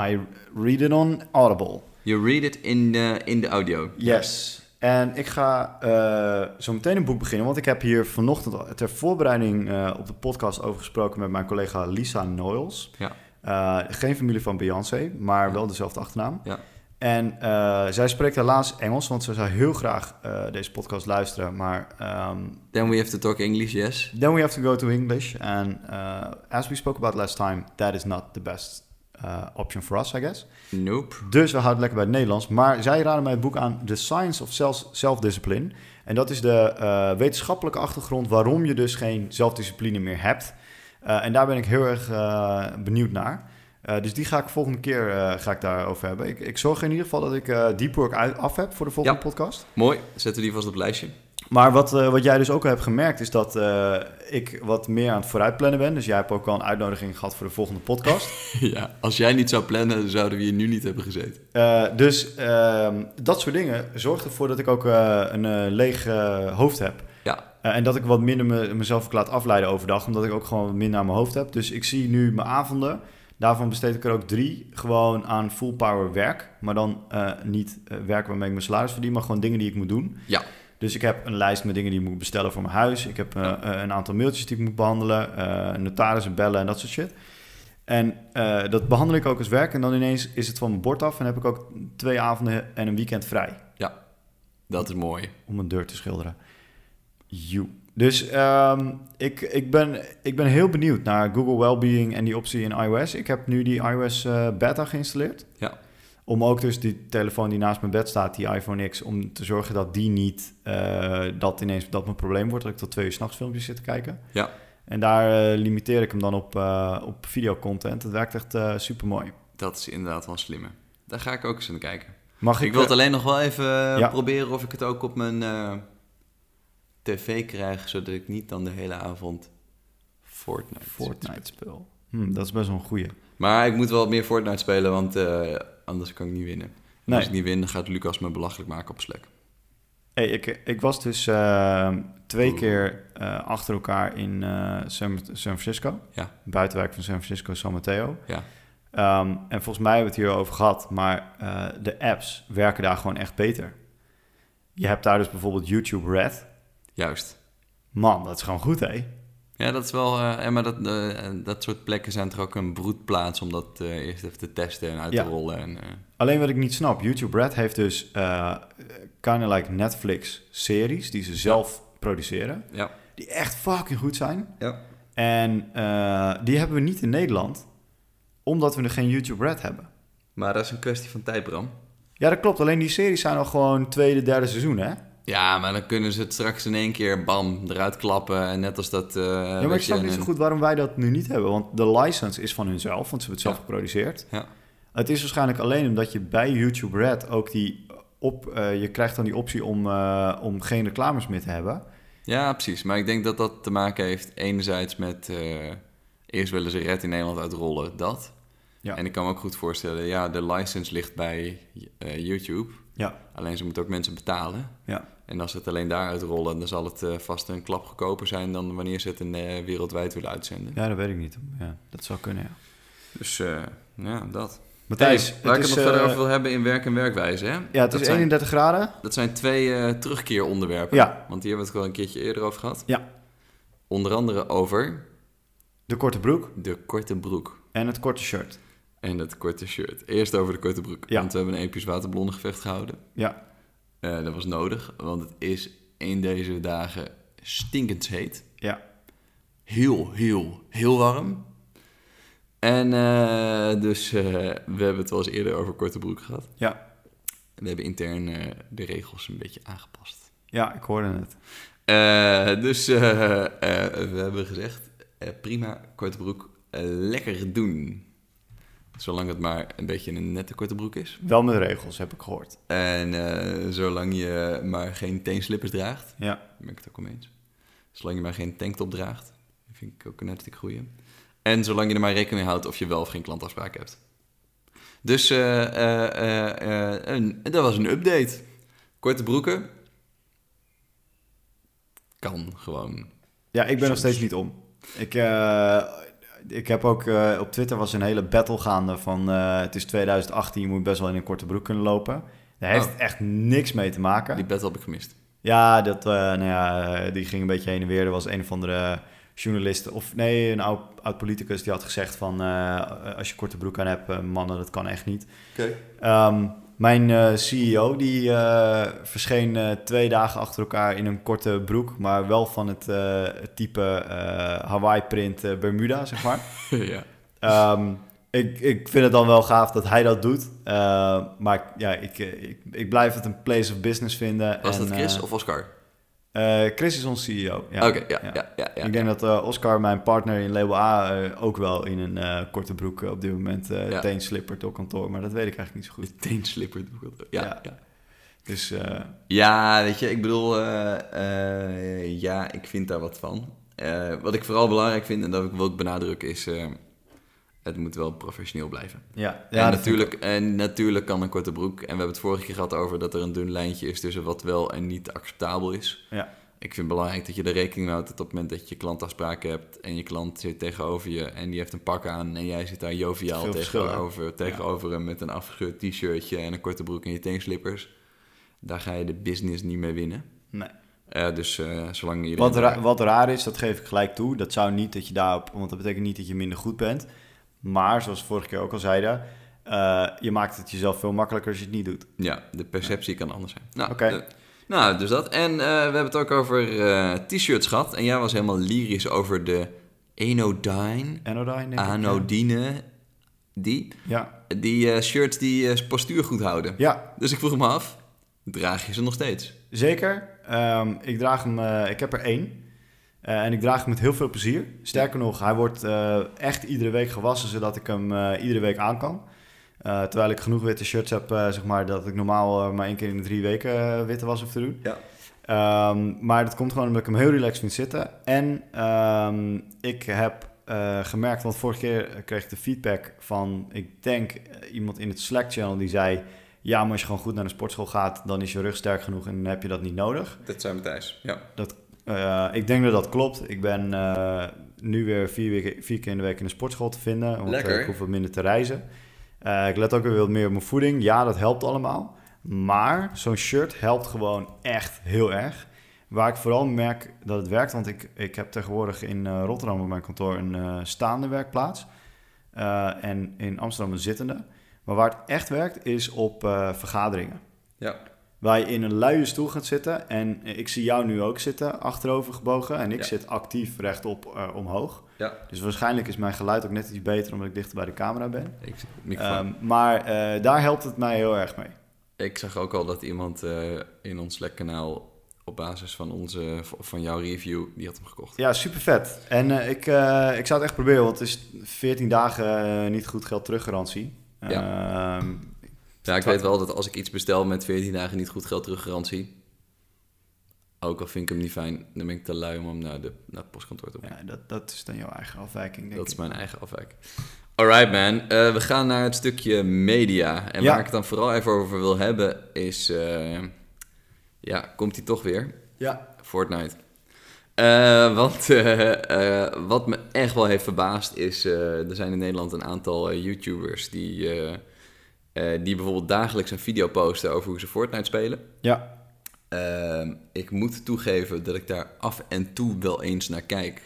[SPEAKER 1] I read it on Audible.
[SPEAKER 2] You read it in the, in the audio.
[SPEAKER 1] Yes. En ik ga eh, zo meteen een boek beginnen, want ik heb hier vanochtend al ter voorbereiding eh, op de podcast over gesproken met mijn collega Lisa Noyles.
[SPEAKER 2] Ja.
[SPEAKER 1] Eh, geen familie van Beyoncé, maar wel dezelfde achternaam.
[SPEAKER 2] Ja.
[SPEAKER 1] En eh, zij spreekt helaas Engels, want ze zou heel graag eh, deze podcast luisteren, maar ehm,
[SPEAKER 2] Then we have to talk English, yes.
[SPEAKER 1] Then we have to go to English, and uh, as we spoke about last time, that is not the best uh, option for us, I guess.
[SPEAKER 2] Nope.
[SPEAKER 1] Dus we houden het lekker bij het Nederlands. Maar zij raden mij het boek aan The Science of Self- Self-Discipline. En dat is de eh, wetenschappelijke achtergrond waarom je dus geen zelfdiscipline meer hebt. Eh, en daar ben ik heel erg eh, benieuwd naar. Eh, dus die ga ik volgende keer eh, ga ik daarover hebben. Ik, ik zorg in ieder geval dat ik eh Deep Work uit- af heb voor de volgende
[SPEAKER 2] Ja.
[SPEAKER 1] podcast.
[SPEAKER 2] Mooi, zetten we die vast op het lijstje.
[SPEAKER 1] Maar wat, eh, wat jij dus ook al hebt gemerkt, is dat eh, ik wat meer aan het vooruitplannen ben. Dus jij hebt ook al een uitnodiging gehad voor de volgende podcast.
[SPEAKER 2] [laughs] ja, als jij niet zou plannen, zouden we hier nu niet hebben gezeten.
[SPEAKER 1] Eh, dus ehm, dat soort dingen zorgt ervoor dat ik ook eh, een eh, leeg eh, hoofd heb.
[SPEAKER 2] Ja.
[SPEAKER 1] Eh, en dat ik wat minder me- mezelf ook laat afleiden overdag, omdat ik ook gewoon wat minder aan mijn hoofd heb. Dus ik zie nu mijn avonden. Daarvan besteed ik er ook drie gewoon aan full power werk. Maar dan eh, niet eh, werk waarmee ik mijn salaris verdien, maar gewoon dingen die ik moet doen.
[SPEAKER 2] Ja.
[SPEAKER 1] Dus ik heb een lijst met dingen die ik moet bestellen voor mijn huis. Ik heb eh,
[SPEAKER 2] Ja.
[SPEAKER 1] eh, een aantal mailtjes die ik moet behandelen. eh notarissen bellen en dat soort shit. En eh, dat behandel ik ook als werk. En dan ineens is het van mijn bord af en heb ik ook twee avonden en een weekend vrij
[SPEAKER 2] Dat is mooi.
[SPEAKER 1] om een deur te schilderen. You. Dus ehm, ik, ik, ben, ik ben heel benieuwd naar Google Wellbeing en die optie in iOS. Ik heb nu die iOS eh, beta geïnstalleerd.
[SPEAKER 2] Ja.
[SPEAKER 1] Om ook dus die telefoon die naast mijn bed staat, die iPhone X, om te zorgen dat die niet eh, dat ineens dat mijn probleem wordt. Dat ik tot twee uur s'nachts filmpjes zit te kijken.
[SPEAKER 2] Ja.
[SPEAKER 1] En daar eh, limiteer ik hem dan op, eh op videocontent. Dat werkt echt eh, super mooi.
[SPEAKER 2] Dat is inderdaad wel slimmer. Daar ga ik ook eens naar kijken.
[SPEAKER 1] Mag ik,
[SPEAKER 2] Ik wil het alleen nog wel even eh,
[SPEAKER 1] Ja.
[SPEAKER 2] proberen of ik het ook op mijn eh, tv krijg, zodat ik niet dan de hele avond Fortnite,
[SPEAKER 1] Fortnite spel. Hm, dat is best wel een goeie.
[SPEAKER 2] Maar ik moet wel wat meer Fortnite spelen, want eh, anders kan ik niet winnen. En
[SPEAKER 1] Nee.
[SPEAKER 2] Als ik niet win, dan gaat Lucas me belachelijk maken op Slack.
[SPEAKER 1] Hey, ik, ik was dus eh, twee
[SPEAKER 2] Oeh.
[SPEAKER 1] keer eh, achter elkaar in eh, San, San Francisco.
[SPEAKER 2] Ja.
[SPEAKER 1] Buitenwijk van San Francisco, San Mateo.
[SPEAKER 2] Ja.
[SPEAKER 1] Ehm, en volgens mij hebben we het hier over gehad, maar eh, de apps werken daar gewoon echt beter. Je hebt daar dus bijvoorbeeld YouTube Red.
[SPEAKER 2] Juist.
[SPEAKER 1] Man, dat is gewoon goed, hè?
[SPEAKER 2] Ja, dat is wel... eh, en maar dat, eh, en dat soort plekken zijn toch ook een broedplaats om dat eh, eerst even te testen en uit
[SPEAKER 1] Ja.
[SPEAKER 2] te rollen. En, eh,
[SPEAKER 1] Alleen wat ik niet snap, YouTube Red heeft dus eh kind of like Netflix series die ze zelf produceren.
[SPEAKER 2] Ja.
[SPEAKER 1] Die echt fucking goed zijn.
[SPEAKER 2] Ja.
[SPEAKER 1] En eh, die hebben we niet in Nederland, omdat we er geen YouTube Red hebben.
[SPEAKER 2] Maar dat is een kwestie van tijd, Bram.
[SPEAKER 1] Ja, dat klopt. Alleen die series zijn al gewoon tweede, derde seizoen, hè?
[SPEAKER 2] Ja, maar dan kunnen ze het straks in één keer bam eruit klappen. En net als dat. eh,
[SPEAKER 1] ja,
[SPEAKER 2] weet
[SPEAKER 1] maar ik snap
[SPEAKER 2] je,
[SPEAKER 1] niet
[SPEAKER 2] een-
[SPEAKER 1] zo goed waarom wij dat nu niet hebben. Want de license is van hunzelf, want ze hebben het zelf
[SPEAKER 2] Ja.
[SPEAKER 1] geproduceerd.
[SPEAKER 2] Ja.
[SPEAKER 1] Het is waarschijnlijk alleen omdat je bij YouTube Red ook die op... eh, je krijgt dan die optie om, eh, om geen reclames meer te hebben.
[SPEAKER 2] Ja, precies. Maar ik denk dat dat te maken heeft enerzijds met... eh, eerst willen ze red in Nederland uitrollen, dat.
[SPEAKER 1] Ja.
[SPEAKER 2] En ik kan me ook goed voorstellen, ja, de license ligt bij eh, YouTube.
[SPEAKER 1] Ja.
[SPEAKER 2] Alleen ze moeten ook mensen betalen.
[SPEAKER 1] Ja.
[SPEAKER 2] En als ze het alleen daaruit rollen, dan zal het eh, vast een klap goedkoper zijn... dan wanneer ze het in, eh, wereldwijd willen uitzenden.
[SPEAKER 1] Ja, dat weet ik niet. Ja, dat zou kunnen, ja.
[SPEAKER 2] Dus eh, ja, dat.
[SPEAKER 1] Matthijs,
[SPEAKER 2] Hey, waar ik
[SPEAKER 1] het
[SPEAKER 2] het
[SPEAKER 1] is,
[SPEAKER 2] nog verder
[SPEAKER 1] eh,
[SPEAKER 2] over wil hebben in werk en werkwijze. Hè?
[SPEAKER 1] ja, het
[SPEAKER 2] dat,
[SPEAKER 1] is
[SPEAKER 2] zijn,
[SPEAKER 1] 31 graden.
[SPEAKER 2] dat zijn twee eh, terugkeeronderwerpen.
[SPEAKER 1] Ja.
[SPEAKER 2] Want hier hebben we het wel een keertje eerder over gehad.
[SPEAKER 1] Ja.
[SPEAKER 2] Onder andere over
[SPEAKER 1] De korte broek
[SPEAKER 2] de korte broek
[SPEAKER 1] en het korte shirt.
[SPEAKER 2] en het korte shirt. Eerst over de korte broek.
[SPEAKER 1] Ja.
[SPEAKER 2] Want we hebben een episch waterblonnengevecht gehouden.
[SPEAKER 1] Ja,
[SPEAKER 2] Eh, dat was nodig, want het is in deze dagen stinkend heet.
[SPEAKER 1] ja.
[SPEAKER 2] Heel, heel, heel warm. En eh, dus eh, we hebben het wel eens eerder over korte broek gehad.
[SPEAKER 1] Ja.
[SPEAKER 2] We hebben intern eh, de regels een beetje aangepast.
[SPEAKER 1] Ja, ik hoorde het.
[SPEAKER 2] Eh, dus eh, eh, we hebben gezegd, eh, prima, korte broek, eh, lekker doen. Zolang het maar een beetje een nette korte broek is.
[SPEAKER 1] Wel met regels, heb ik gehoord.
[SPEAKER 2] En eh, zolang je maar geen teenslippers draagt.
[SPEAKER 1] Ja.
[SPEAKER 2] Daar ben ik het ook mee eens. Zolang je maar geen tanktop draagt. Dat vind ik ook een hartstikke goeie. En zolang je er maar rekening mee houdt of je wel of geen klantafspraak hebt. Dus eh, eh, eh, eh, een- dat was een update. Korte broeken. Kan gewoon.
[SPEAKER 1] Ja, ik ben nog steeds niet om. Ik, eh, ik heb ook eh, op Twitter was een hele battle gaande van eh, het is 2018, je moet best wel in een korte broek kunnen lopen. Daar heeft
[SPEAKER 2] Oh.
[SPEAKER 1] het echt niks mee te maken.
[SPEAKER 2] Die bed heb ik gemist.
[SPEAKER 1] Ja, dat, eh, nou ja, eh, die ging een beetje heen en weer. Er was een of andere journalist, of nee, een oud, oud politicus, die had gezegd van eh, als je korte broek aan hebt, eh, mannen, dat kan echt niet. Ehm, mijn eh, CEO die eh, verscheen eh, twee dagen achter elkaar in een korte broek, maar wel van het eh, het type eh, Hawaii print eh, Bermuda, zeg maar.
[SPEAKER 2] [laughs] [laughs] ja.
[SPEAKER 1] Ehm, ik, ik vind het dan wel gaaf dat hij dat doet, Eh, maar ik- ja, ik, eh, ik, ik blijf het een place of business vinden.
[SPEAKER 2] Was
[SPEAKER 1] en,
[SPEAKER 2] dat Chris
[SPEAKER 1] eh,
[SPEAKER 2] of Oscar?
[SPEAKER 1] eh, Chris is ons CEO. Ja.
[SPEAKER 2] Oké, ja, ja, ja. ja,
[SPEAKER 1] ik denk dat eh, Oscar, mijn partner in Label A, eh, ook wel in een eh, korte broek eh, op dit moment eh
[SPEAKER 2] Ja.
[SPEAKER 1] teenslippert op kantoor, maar dat weet ik eigenlijk niet zo goed.
[SPEAKER 2] De teenslipper. Ja,
[SPEAKER 1] Ja.
[SPEAKER 2] ja. ja.
[SPEAKER 1] Dus eh,
[SPEAKER 2] Ja, weet je, ik bedoel, eh, eh, ja, ik vind daar wat van. Eh, wat ik vooral belangrijk vind en dat ik wil benadrukken is, eh, het moet wel professioneel blijven.
[SPEAKER 1] ja,
[SPEAKER 2] en,
[SPEAKER 1] ja dat-
[SPEAKER 2] natuurlijk, en natuurlijk kan een korte broek, en we hebben het vorige keer gehad over dat er een dun lijntje is tussen wat wel en niet acceptabel is.
[SPEAKER 1] Ja.
[SPEAKER 2] Ik vind het belangrijk dat je er rekening mee houdt dat op het moment dat je klantafspraken hebt en je klant zit tegenover je en die heeft een pak aan en jij zit daar joviaal
[SPEAKER 1] Veel verschil, hè?
[SPEAKER 2] tegenover, tegenover hem met een afgescheurd t-shirtje en een korte broek en je teenslippers. Daar ga je de business niet mee winnen.
[SPEAKER 1] Nee.
[SPEAKER 2] Eh, dus eh, zolang je...
[SPEAKER 1] Wat, ra- wat raar is, dat geef ik gelijk toe. Dat zou niet dat je daarop, want dat betekent niet dat je minder goed bent. Maar zoals we vorige keer ook al zeiden, eh, je maakt het jezelf veel makkelijker als je het niet doet.
[SPEAKER 2] Ja, de perceptie kan anders zijn. Nou,
[SPEAKER 1] Oké.
[SPEAKER 2] eh, nou dus dat. En eh, we hebben het ook over eh, t-shirts gehad. En jij was helemaal lyrisch over de Anodyne,
[SPEAKER 1] Anodyne,
[SPEAKER 2] Ah,
[SPEAKER 1] denk ik.
[SPEAKER 2] Anodine, die,
[SPEAKER 1] Ja,
[SPEAKER 2] die eh, shirts die eh, postuur goed houden.
[SPEAKER 1] ja
[SPEAKER 2] Dus ik vroeg me af, draag je ze nog steeds?
[SPEAKER 1] zeker. Ehm, ik, draag hem, eh, ik heb er één. Eh, en ik draag hem met heel veel plezier. Sterker nog, hij wordt eh, echt iedere week gewassen, zodat ik hem eh, iedere week aan kan. Eh, terwijl ik genoeg witte shirts heb, eh, zeg maar, dat ik normaal eh, maar één keer in de drie weken eh, witte was hoef te doen.
[SPEAKER 2] Ja.
[SPEAKER 1] Ehm, maar dat komt gewoon omdat ik hem heel relaxed vind zitten. En ehm, ik heb eh, gemerkt, want vorige keer eh, kreeg ik de feedback van, ik denk eh, iemand in het Slack-channel die zei, ja, maar als je gewoon goed naar de sportschool gaat, dan is je rug sterk genoeg en dan heb je dat niet nodig.
[SPEAKER 2] Dat zijn Matthijs, ja.
[SPEAKER 1] Eh, ik denk dat dat klopt. Ik ben eh, nu weer vier, weken, vier keer in de week in de sportschool te vinden, want eh,
[SPEAKER 2] Lekker.
[SPEAKER 1] ik hoef wat minder te reizen. Eh, ik let ook weer wat meer op mijn voeding. Ja, dat helpt allemaal. Maar zo'n shirt helpt gewoon echt heel erg. Waar ik vooral merk dat het werkt, want ik, ik heb tegenwoordig in eh, Rotterdam op mijn kantoor een eh, staande werkplaats. eh, en in Amsterdam een zittende. Maar waar het echt werkt is op eh, vergaderingen.
[SPEAKER 2] Ja.
[SPEAKER 1] Waar je in een luie stoel gaat zitten. En ik zie jou nu ook zitten, achterover gebogen. En ik
[SPEAKER 2] Ja.
[SPEAKER 1] zit actief rechtop eh, omhoog.
[SPEAKER 2] Ja.
[SPEAKER 1] Dus waarschijnlijk is mijn geluid ook net iets beter omdat ik dichter bij de camera ben.
[SPEAKER 2] Ik, microfoon.
[SPEAKER 1] Ehm, maar eh, daar helpt het mij heel erg mee.
[SPEAKER 2] Ik zag ook al dat iemand eh, in ons Slack-kanaal op basis van, onze, van jouw review, die had hem gekocht.
[SPEAKER 1] Ja, super vet. En eh, ik, eh, ik zou het echt proberen, want het is 14 dagen eh, niet goed geld teruggarantie. Ehm,
[SPEAKER 2] Ja, ik weet wel dat als ik iets bestel met 14 dagen niet goed geld teruggarantie. Ook al vind ik hem niet fijn, dan ben ik te lui om hem naar, de, naar het postkantoor te brengen.
[SPEAKER 1] ja, dat, dat is dan jouw eigen afwijking, denk
[SPEAKER 2] dat is
[SPEAKER 1] ik.
[SPEAKER 2] mijn eigen afwijk. Alright man, Eh, we gaan naar het stukje media. En
[SPEAKER 1] Ja.
[SPEAKER 2] waar ik het dan vooral even over wil hebben is... eh, ja, komt die toch weer?
[SPEAKER 1] Ja.
[SPEAKER 2] Fortnite. Eh, want [laughs] eh, eh, wat me echt wel heeft verbaasd is, eh, er zijn in Nederland een aantal eh, YouTubers die, eh, eh, die bijvoorbeeld dagelijks een video posten over hoe ze Fortnite spelen.
[SPEAKER 1] Ja.
[SPEAKER 2] Ehm, ik moet toegeven dat ik daar af en toe wel eens naar kijk.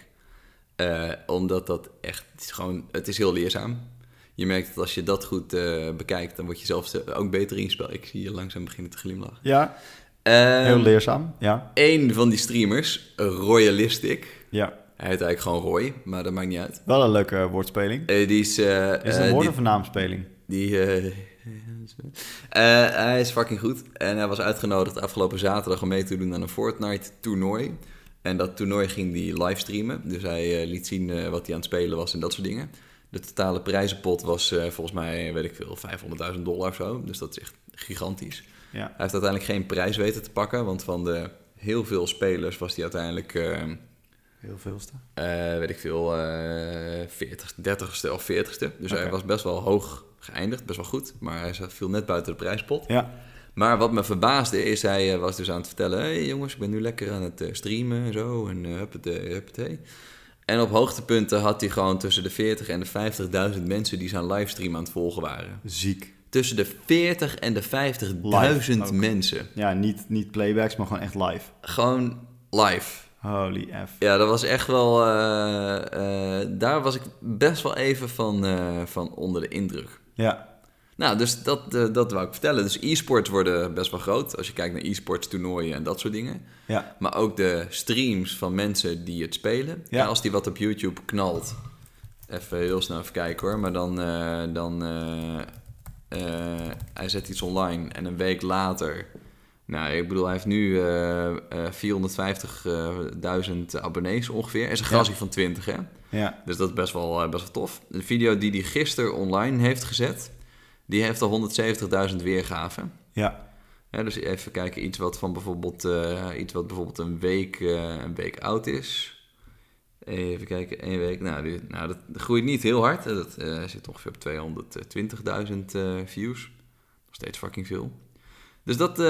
[SPEAKER 2] Eh, omdat dat echt het is gewoon, het is heel leerzaam. Je merkt dat als je dat goed eh, bekijkt, dan word je zelf ook beter in je spel. Ik zie je langzaam beginnen te glimlachen.
[SPEAKER 1] Ja, heel
[SPEAKER 2] Ehm
[SPEAKER 1] leerzaam. Ja.
[SPEAKER 2] Eén van die streamers, Royalistic.
[SPEAKER 1] ja.
[SPEAKER 2] Hij heet eigenlijk gewoon Roy, maar dat maakt niet uit.
[SPEAKER 1] Wel een leuke woordspeling.
[SPEAKER 2] Eh, die is... eh,
[SPEAKER 1] Is het
[SPEAKER 2] eh,
[SPEAKER 1] een woord
[SPEAKER 2] die,
[SPEAKER 1] of een naamspeling?
[SPEAKER 2] die, eh, [laughs] eh, hij is fucking goed. En hij was uitgenodigd afgelopen zaterdag om mee te doen aan een Fortnite-toernooi. En dat toernooi ging hij livestreamen. Dus hij eh, liet zien eh, wat hij aan het spelen was en dat soort dingen. De totale prijzenpot was eh, volgens mij, weet ik veel, 500.000 dollar of zo. Dus dat is echt gigantisch.
[SPEAKER 1] Ja.
[SPEAKER 2] Hij heeft uiteindelijk geen prijs weten te pakken, want van de heel veel spelers was hij uiteindelijk... eh,
[SPEAKER 1] Heel veelste.
[SPEAKER 2] eh, weet ik veel, eh 40, 30ste of 40ste. Dus hij
[SPEAKER 1] Oké.
[SPEAKER 2] was best wel hoog geëindigd, best wel goed. Maar hij zat- viel net buiten de prijspot.
[SPEAKER 1] Ja.
[SPEAKER 2] Maar wat me verbaasde is, hij eh, was dus aan het vertellen... hé hey, jongens, ik ben nu lekker aan het eh, streamen en zo. En eh huppatee, huppatee. En op hoogtepunten had hij gewoon tussen de 40 en de 50.000 mensen... die zijn livestream aan het volgen waren.
[SPEAKER 1] Ziek.
[SPEAKER 2] Tussen de 40 en de
[SPEAKER 1] Live
[SPEAKER 2] 50.000
[SPEAKER 1] ook.
[SPEAKER 2] mensen.
[SPEAKER 1] Ja, niet, niet playbacks, maar gewoon echt live.
[SPEAKER 2] Gewoon live.
[SPEAKER 1] Holy F.
[SPEAKER 2] Ja, dat was echt wel. eh, eh, daar was ik best wel even van, eh, van onder de indruk.
[SPEAKER 1] Ja.
[SPEAKER 2] Nou, dus dat, eh, dat wou ik vertellen. Dus e-sports worden best wel groot. Als je kijkt naar e-sports toernooien en dat soort dingen.
[SPEAKER 1] Ja.
[SPEAKER 2] Maar ook de streams van mensen die het spelen.
[SPEAKER 1] Ja.
[SPEAKER 2] En als die wat op YouTube knalt. Even heel snel even kijken hoor. Maar dan. eh, dan eh, eh, hij zet iets online en een week later. Nou, ik bedoel, hij heeft nu eh, eh, 450.000 abonnees ongeveer. En zijn gratie van 20, hè?
[SPEAKER 1] Ja.
[SPEAKER 2] Dus dat is best wel, eh, best wel tof. De video die hij gisteren online heeft gezet, die heeft al 170.000 weergaven.
[SPEAKER 1] Ja.
[SPEAKER 2] Ja, dus even kijken, iets wat, van bijvoorbeeld, eh, iets wat bijvoorbeeld een week, eh, een week oud is. Even kijken, één week. Nou, die- nou dat groeit niet heel hard. Eh, Dat eh, zit ongeveer op 220.000 eh, views. Nog steeds fucking veel. Dus dat, eh,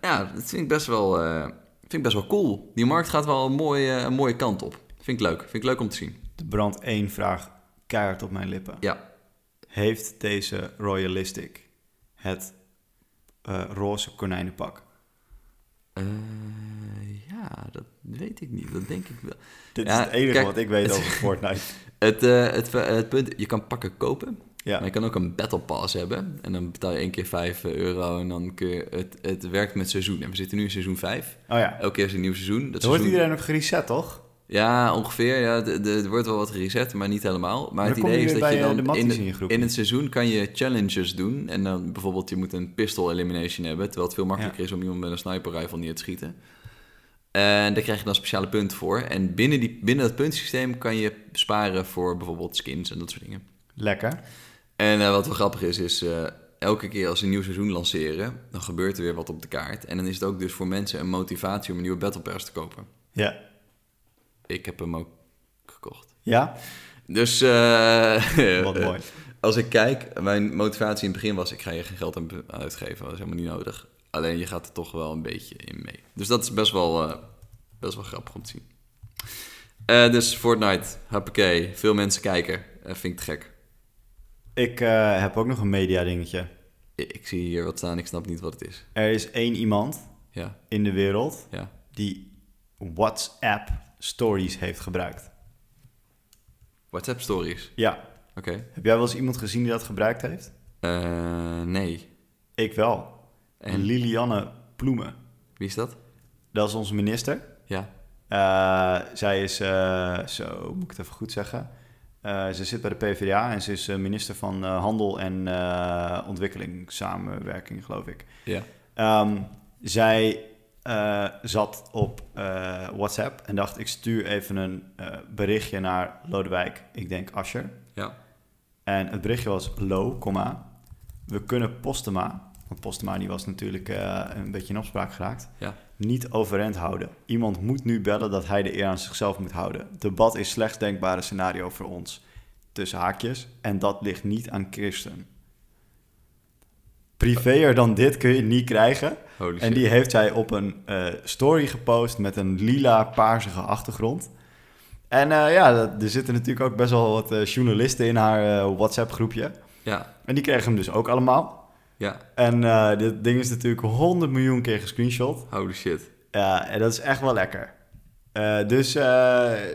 [SPEAKER 2] ja, dat vind ik, best wel, eh, vind ik best wel cool. Die markt gaat wel een mooie, een mooie kant op. Vind ik leuk. Vind ik leuk om te zien.
[SPEAKER 1] Er brandt één vraag keihard op mijn lippen.
[SPEAKER 2] Ja.
[SPEAKER 1] Heeft deze Royalistic het eh, roze konijnenpak?
[SPEAKER 2] Eh, ja, dat weet ik niet. Dat denk ik wel.
[SPEAKER 1] Dit
[SPEAKER 2] Ja,
[SPEAKER 1] is het enige
[SPEAKER 2] kijk,
[SPEAKER 1] wat ik weet
[SPEAKER 2] het-
[SPEAKER 1] over
[SPEAKER 2] [laughs]
[SPEAKER 1] Fortnite.
[SPEAKER 2] Het, eh, het, ver- het punt, je kan pakken kopen. Maar
[SPEAKER 1] Ja.
[SPEAKER 2] je kan ook een battle pass hebben. En dan betaal je één keer 5 euro. En dan kun je... Het, het werkt met seizoen. En we zitten nu in seizoen 5.
[SPEAKER 1] Oh ja.
[SPEAKER 2] Elke keer is een nieuw seizoen. Dat
[SPEAKER 1] Er wordt
[SPEAKER 2] seizoen-
[SPEAKER 1] iedereen op gereset, toch?
[SPEAKER 2] Ja, ongeveer. Ja, de- de- er wordt wel wat gereset, maar niet helemaal. Maar, het
[SPEAKER 1] dan kom
[SPEAKER 2] idee
[SPEAKER 1] je
[SPEAKER 2] is
[SPEAKER 1] weer
[SPEAKER 2] dat je
[SPEAKER 1] bij, eh, de
[SPEAKER 2] dan
[SPEAKER 1] matties
[SPEAKER 2] in,
[SPEAKER 1] in je groep.
[SPEAKER 2] in het seizoen kan je challenges doen. En dan bijvoorbeeld je moet een pistol elimination hebben. Terwijl het veel makkelijker is om iemand met een sniper rifle neer te schieten. En daar krijg je dan speciale punten voor. En binnen, die, binnen dat puntensysteem kan je sparen voor bijvoorbeeld skins en dat soort dingen.
[SPEAKER 1] Lekker.
[SPEAKER 2] En eh, wat wel grappig is, is eh, elke keer als ze een nieuw seizoen lanceren, dan gebeurt er weer wat op de kaart. En dan is het ook dus voor mensen een motivatie om een nieuwe Battle Pass te kopen.
[SPEAKER 1] Ja.
[SPEAKER 2] Ik heb hem ook gekocht.
[SPEAKER 1] Ja?
[SPEAKER 2] Dus eh,
[SPEAKER 1] Wat mooi.
[SPEAKER 2] [laughs] als ik kijk, mijn motivatie in het begin was, ik ga je geen geld aan uitgeven, dat is helemaal niet nodig. Alleen je gaat er toch wel een beetje in mee. Dus dat is best wel, eh, best wel grappig om te zien. Eh, dus Fortnite, hoppakee, veel mensen kijken. Eh, vind ik te gek.
[SPEAKER 1] Ik eh, heb ook nog een media dingetje.
[SPEAKER 2] Ik, ik zie hier wat staan, ik snap niet wat het is.
[SPEAKER 1] Er is één iemand
[SPEAKER 2] Ja,
[SPEAKER 1] in de wereld
[SPEAKER 2] ja.
[SPEAKER 1] die WhatsApp stories heeft gebruikt.
[SPEAKER 2] WhatsApp stories.
[SPEAKER 1] Ja.
[SPEAKER 2] Oké.
[SPEAKER 1] Heb jij wel eens iemand gezien die dat gebruikt heeft?
[SPEAKER 2] Eh, nee.
[SPEAKER 1] Ik wel.
[SPEAKER 2] En?
[SPEAKER 1] Lilianne Ploemen.
[SPEAKER 2] Wie is dat?
[SPEAKER 1] Dat is onze minister.
[SPEAKER 2] Ja.
[SPEAKER 1] Eh, zij is, eh, zo moet ik het even goed zeggen. Eh, ze zit bij de PvdA en ze is eh, minister van eh, Handel en eh Ontwikkelingssamenwerking, geloof ik.
[SPEAKER 2] Ja.
[SPEAKER 1] Ehm, zij eh, zat op eh, WhatsApp en dacht: ik stuur even een eh, berichtje naar Lodewijk, ik denk Ascher.
[SPEAKER 2] Ja.
[SPEAKER 1] En het berichtje was low, comma. We kunnen Postema, want Postema die was natuurlijk eh, een beetje in opspraak geraakt,
[SPEAKER 2] Ja.
[SPEAKER 1] niet overeind houden. Iemand moet nu bellen dat hij de eer aan zichzelf moet houden. Debat is slechts denkbare scenario voor ons. Tussen haakjes. En dat ligt niet aan Christen. Privéer dan dit kun je niet krijgen.
[SPEAKER 2] Holy shit.
[SPEAKER 1] En die heeft zij op een eh, story gepost met een lila paarsige achtergrond. En eh, ja, dat- er zitten natuurlijk ook best wel wat eh, journalisten in haar eh, WhatsApp-groepje.
[SPEAKER 2] Ja,
[SPEAKER 1] En die kregen hem dus ook allemaal.
[SPEAKER 2] ja.
[SPEAKER 1] En eh, dit ding is natuurlijk 100 miljoen keer gescreenshot.
[SPEAKER 2] Holy shit.
[SPEAKER 1] Ja, en dat is echt wel lekker. Eh, dus eh,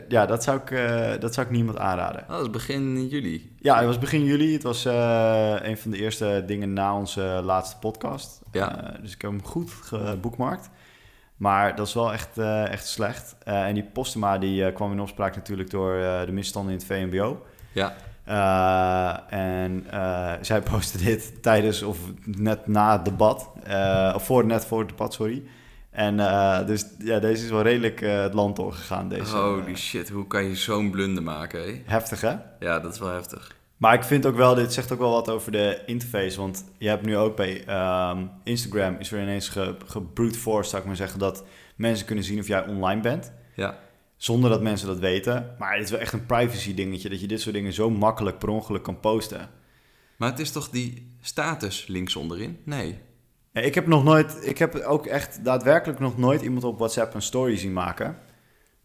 [SPEAKER 1] ja, dat zou, ik, eh, dat zou ik niemand aanraden.
[SPEAKER 2] Ah, dat is begin juli.
[SPEAKER 1] Ja, het was begin juli. Het was eh, een van de eerste dingen na onze eh, laatste podcast.
[SPEAKER 2] Ja.
[SPEAKER 1] Eh, dus ik heb hem goed geboekmarkt. Maar dat is wel echt, eh, echt slecht. Eh, en die Postema die, eh, kwam in opspraak natuurlijk door eh, de misstanden in het VMBO.
[SPEAKER 2] Ja.
[SPEAKER 1] Eh, en eh, zij [laughs] postte dit tijdens of net na het debat. Eh, of voor, net voor het debat, sorry. En eh, dus ja, deze is wel redelijk eh, het land doorgegaan. Deze,
[SPEAKER 2] Holy
[SPEAKER 1] eh,
[SPEAKER 2] shit, hoe kan je zo'n blunder maken, hé?
[SPEAKER 1] heftig, hè?
[SPEAKER 2] Ja, dat is wel heftig.
[SPEAKER 1] Maar ik vind ook wel, dit zegt ook wel wat over de interface. Want je hebt nu ook bij ehm, Instagram is er ineens ge, gebrute force, zou ik maar zeggen, dat mensen kunnen zien of jij online bent.
[SPEAKER 2] Ja.
[SPEAKER 1] Zonder dat mensen dat weten. Maar het is wel echt een privacy dingetje, dat je dit soort dingen zo makkelijk per ongeluk kan posten.
[SPEAKER 2] Maar het is toch die status links onderin? Nee.
[SPEAKER 1] Ja, Eh, ik heb nog nooit, ik heb ook echt daadwerkelijk nog nooit iemand op WhatsApp een story zien maken.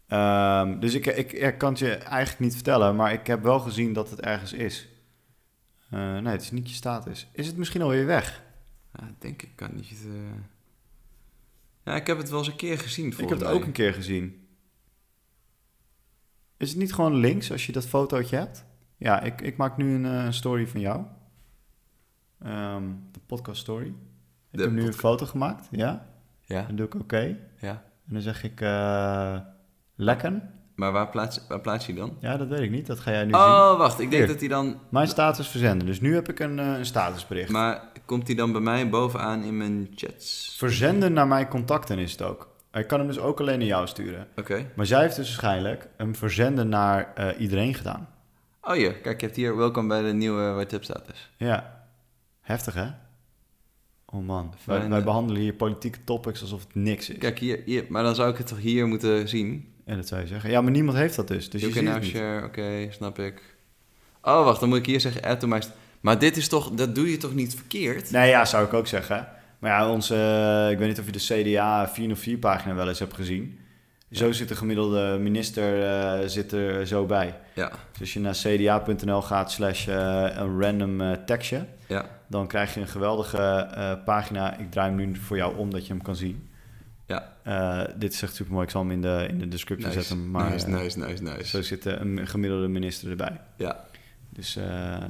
[SPEAKER 1] Ehm, dus ik, ik, ik kan het je eigenlijk niet vertellen, maar ik heb wel gezien dat het ergens is. Eh, nee, het is niet je status. Is het misschien alweer weg?
[SPEAKER 2] Ja, dat denk ik kan niet. eh. Ja, ik heb het wel eens een keer gezien
[SPEAKER 1] Ik
[SPEAKER 2] volgens
[SPEAKER 1] heb het
[SPEAKER 2] mij.
[SPEAKER 1] ook een keer gezien. Is het niet gewoon links als je dat fotootje hebt? Ja, ik, ik maak nu een eh, story van jou. Ehm, de podcast story. Ik
[SPEAKER 2] De
[SPEAKER 1] heb nu een
[SPEAKER 2] podcast.
[SPEAKER 1] foto gemaakt, ja.
[SPEAKER 2] Ja,
[SPEAKER 1] Dan doe ik oké.
[SPEAKER 2] ja.
[SPEAKER 1] En dan zeg ik eh lekken.
[SPEAKER 2] Maar waar plaats, waar plaats je dan?
[SPEAKER 1] Ja, dat weet ik niet. Dat ga jij nu zien.
[SPEAKER 2] Oh, wacht. Ik denk
[SPEAKER 1] Hier.
[SPEAKER 2] dat hij dan...
[SPEAKER 1] Mijn status verzenden. Dus nu heb ik een, eh, een statusbericht.
[SPEAKER 2] Maar komt hij dan bij mij bovenaan in mijn chats?
[SPEAKER 1] Verzenden naar mijn contacten is het ook. Ik kan hem dus ook alleen naar jou sturen.
[SPEAKER 2] Oké.
[SPEAKER 1] Maar zij heeft dus waarschijnlijk hem verzenden naar eh, iedereen gedaan.
[SPEAKER 2] Oh ja, kijk, je hebt hier welkom bij de nieuwe WhatsApp status.
[SPEAKER 1] Ja, heftig hè? Oh man, wij,
[SPEAKER 2] Fijn,
[SPEAKER 1] wij
[SPEAKER 2] hè?
[SPEAKER 1] behandelen hier politieke topics alsof het niks is.
[SPEAKER 2] Kijk, hier, hier. Maar dan zou ik het toch hier moeten zien?
[SPEAKER 1] En dat zou je zeggen. Ja, maar niemand heeft dat dus. Dus
[SPEAKER 2] you
[SPEAKER 1] je
[SPEAKER 2] can
[SPEAKER 1] ziet het
[SPEAKER 2] now
[SPEAKER 1] niet.
[SPEAKER 2] share, oké, snap ik. Oh, wacht, dan moet ik hier zeggen add to my... st- Maar dit is toch... Dat doe je toch niet verkeerd?
[SPEAKER 1] Nee, ja, zou ik ook zeggen. Maar ja, onze, eh, ik weet niet of je de CDA 404-pagina wel eens hebt gezien. Zo zit de gemiddelde minister eh, zit er zo bij.
[SPEAKER 2] Ja,
[SPEAKER 1] Dus als je naar cda.nl gaat slash eh, een random eh, tekstje...
[SPEAKER 2] ja,
[SPEAKER 1] dan krijg je een geweldige eh, pagina. Ik draai hem nu voor jou om, dat je hem kan zien.
[SPEAKER 2] ja.
[SPEAKER 1] Eh, dit is echt super mooi. Ik zal hem in de, in de description
[SPEAKER 2] Nice,
[SPEAKER 1] zetten. Maar,
[SPEAKER 2] nice,
[SPEAKER 1] eh,
[SPEAKER 2] nice, nice, nice.
[SPEAKER 1] Zo zit eh, een gemiddelde minister erbij.
[SPEAKER 2] Ja,
[SPEAKER 1] Dus eh,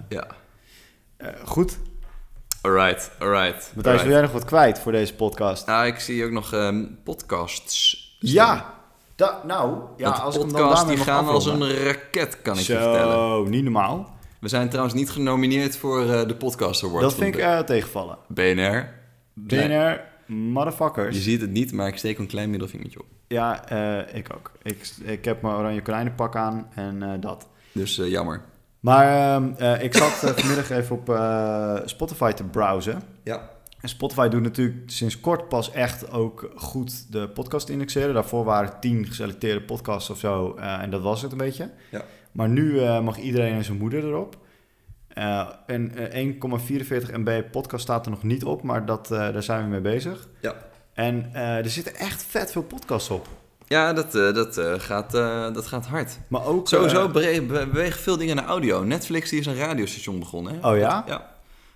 [SPEAKER 2] ja.
[SPEAKER 1] eh, goed.
[SPEAKER 2] Alright, alright.
[SPEAKER 1] Matthijs, wil
[SPEAKER 2] alright.
[SPEAKER 1] jij nog wat kwijt voor deze podcast?
[SPEAKER 2] Nou, ik zie ook nog ehm, podcasts.
[SPEAKER 1] ja! Da- nou, ja,
[SPEAKER 2] Want
[SPEAKER 1] als ik hem dan
[SPEAKER 2] podcasts
[SPEAKER 1] daarmee
[SPEAKER 2] die
[SPEAKER 1] mag
[SPEAKER 2] gaan als
[SPEAKER 1] afronden.
[SPEAKER 2] een raket, kan ik je vertellen.
[SPEAKER 1] Zo, niet normaal.
[SPEAKER 2] We zijn trouwens niet genomineerd voor eh, de Podcast Awards.
[SPEAKER 1] Dat
[SPEAKER 2] van
[SPEAKER 1] vind ik
[SPEAKER 2] de
[SPEAKER 1] eh, tegenvallen.
[SPEAKER 2] BNR. Nee.
[SPEAKER 1] DNR, motherfuckers.
[SPEAKER 2] Je ziet het niet, maar ik steek een klein middelvingertje op.
[SPEAKER 1] Ja, eh, ik ook. Ik, ik heb mijn oranje konijnenpak aan en eh, dat.
[SPEAKER 2] Dus eh, jammer.
[SPEAKER 1] Maar ehm, eh, ik zat eh, vanmiddag even op eh, Spotify te browsen.
[SPEAKER 2] Ja.
[SPEAKER 1] En Spotify doet natuurlijk sinds kort pas echt ook goed de podcast indexeren. Daarvoor waren tien geselecteerde podcasts of zo eh, en dat was het een beetje.
[SPEAKER 2] Ja.
[SPEAKER 1] Maar nu eh, mag iedereen en zijn moeder erop. Eh, en eh, 1,44 MB podcast staat er nog niet op, maar dat, eh, daar zijn we mee bezig.
[SPEAKER 2] Ja.
[SPEAKER 1] En eh, er zitten echt vet veel podcasts op.
[SPEAKER 2] Ja, dat, eh, dat, eh, gaat, eh, dat gaat hard.
[SPEAKER 1] Maar ook...
[SPEAKER 2] Sowieso
[SPEAKER 1] eh,
[SPEAKER 2] bewe- be- bewegen veel dingen naar audio. Netflix die is een radiostation begonnen. Hè?
[SPEAKER 1] oh ja?
[SPEAKER 2] Ja.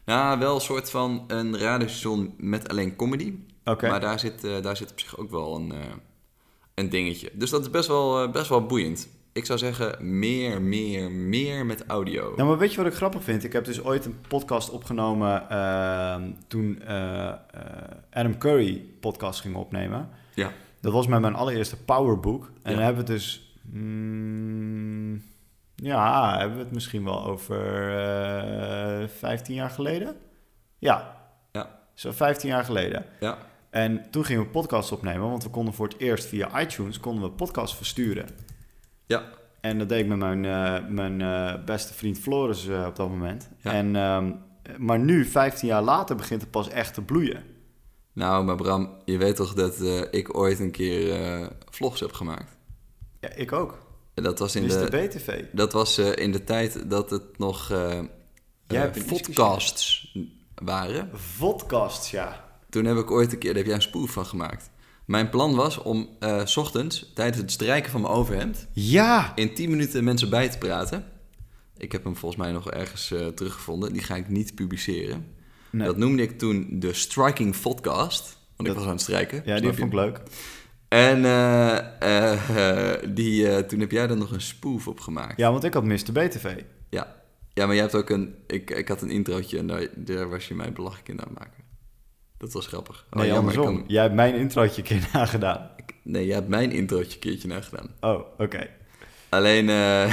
[SPEAKER 2] Nou, wel een soort van een radiostation met alleen comedy.
[SPEAKER 1] Oké.
[SPEAKER 2] Maar daar zit, eh, daar zit op zich ook wel een, eh, een dingetje. Dus dat is best wel, eh, best wel boeiend. Ik zou zeggen, meer, meer, meer met audio.
[SPEAKER 1] Nou, maar weet je wat ik grappig vind? Ik heb dus ooit een podcast opgenomen ehm, toen eh, eh, Adam Curry podcast ging opnemen.
[SPEAKER 2] Ja.
[SPEAKER 1] Dat was met mijn allereerste powerbook. En
[SPEAKER 2] Ja.
[SPEAKER 1] dan hebben we het dus... mm, ja, hebben we het misschien wel over eh 15 jaar geleden? Ja.
[SPEAKER 2] Ja.
[SPEAKER 1] Zo 15 jaar geleden.
[SPEAKER 2] Ja.
[SPEAKER 1] En toen gingen we podcasts opnemen, want we konden voor het eerst via iTunes konden we podcasts versturen.
[SPEAKER 2] Ja.
[SPEAKER 1] En dat deed ik met mijn, eh, mijn eh, beste vriend Floris eh, op dat moment.
[SPEAKER 2] Ja.
[SPEAKER 1] En, ehm, maar nu, 15 jaar later, begint het pas echt te bloeien.
[SPEAKER 2] Nou, maar Bram, je weet toch dat eh, ik ooit een keer eh, vlogs heb gemaakt?
[SPEAKER 1] Ja, ik ook.
[SPEAKER 2] En Dat was, in
[SPEAKER 1] Dit is de
[SPEAKER 2] de,
[SPEAKER 1] BTV.
[SPEAKER 2] dat was eh, in de tijd dat het nog eh
[SPEAKER 1] Jij
[SPEAKER 2] eh,
[SPEAKER 1] hebt een
[SPEAKER 2] podcasts waren.
[SPEAKER 1] Vodcasts, ja.
[SPEAKER 2] Toen heb ik ooit een keer, daar heb jij een spoof van gemaakt. Mijn plan was om eh, 's ochtends, tijdens het strijken van mijn overhemd,
[SPEAKER 1] Ja!
[SPEAKER 2] in 10 minuten mensen bij te praten. Ik heb hem volgens mij nog ergens eh, teruggevonden. Die ga ik niet publiceren.
[SPEAKER 1] Nee.
[SPEAKER 2] Dat noemde ik toen de Striking Podcast. Want
[SPEAKER 1] Dat-
[SPEAKER 2] ik was aan het strijken.
[SPEAKER 1] Ja, die
[SPEAKER 2] snap je?
[SPEAKER 1] vond ik leuk.
[SPEAKER 2] En eh, eh, eh, die, eh, toen heb jij er nog een spoof op gemaakt.
[SPEAKER 1] Ja, want ik had Mr. BTV.
[SPEAKER 2] Ja, ja maar jij hebt ook een... Ik, ik had een introotje en daar, daar was je mij belachelijk in aan het maken. Dat was grappig. Oh,
[SPEAKER 1] Nee,
[SPEAKER 2] jammer, ik
[SPEAKER 1] andersom.
[SPEAKER 2] kan-
[SPEAKER 1] Jij hebt mijn introotje een keer [laughs] nagedaan.
[SPEAKER 2] ik- nee, jij hebt mijn introotje een keertje nagedaan.
[SPEAKER 1] Oh, oké.
[SPEAKER 2] Alleen, eh,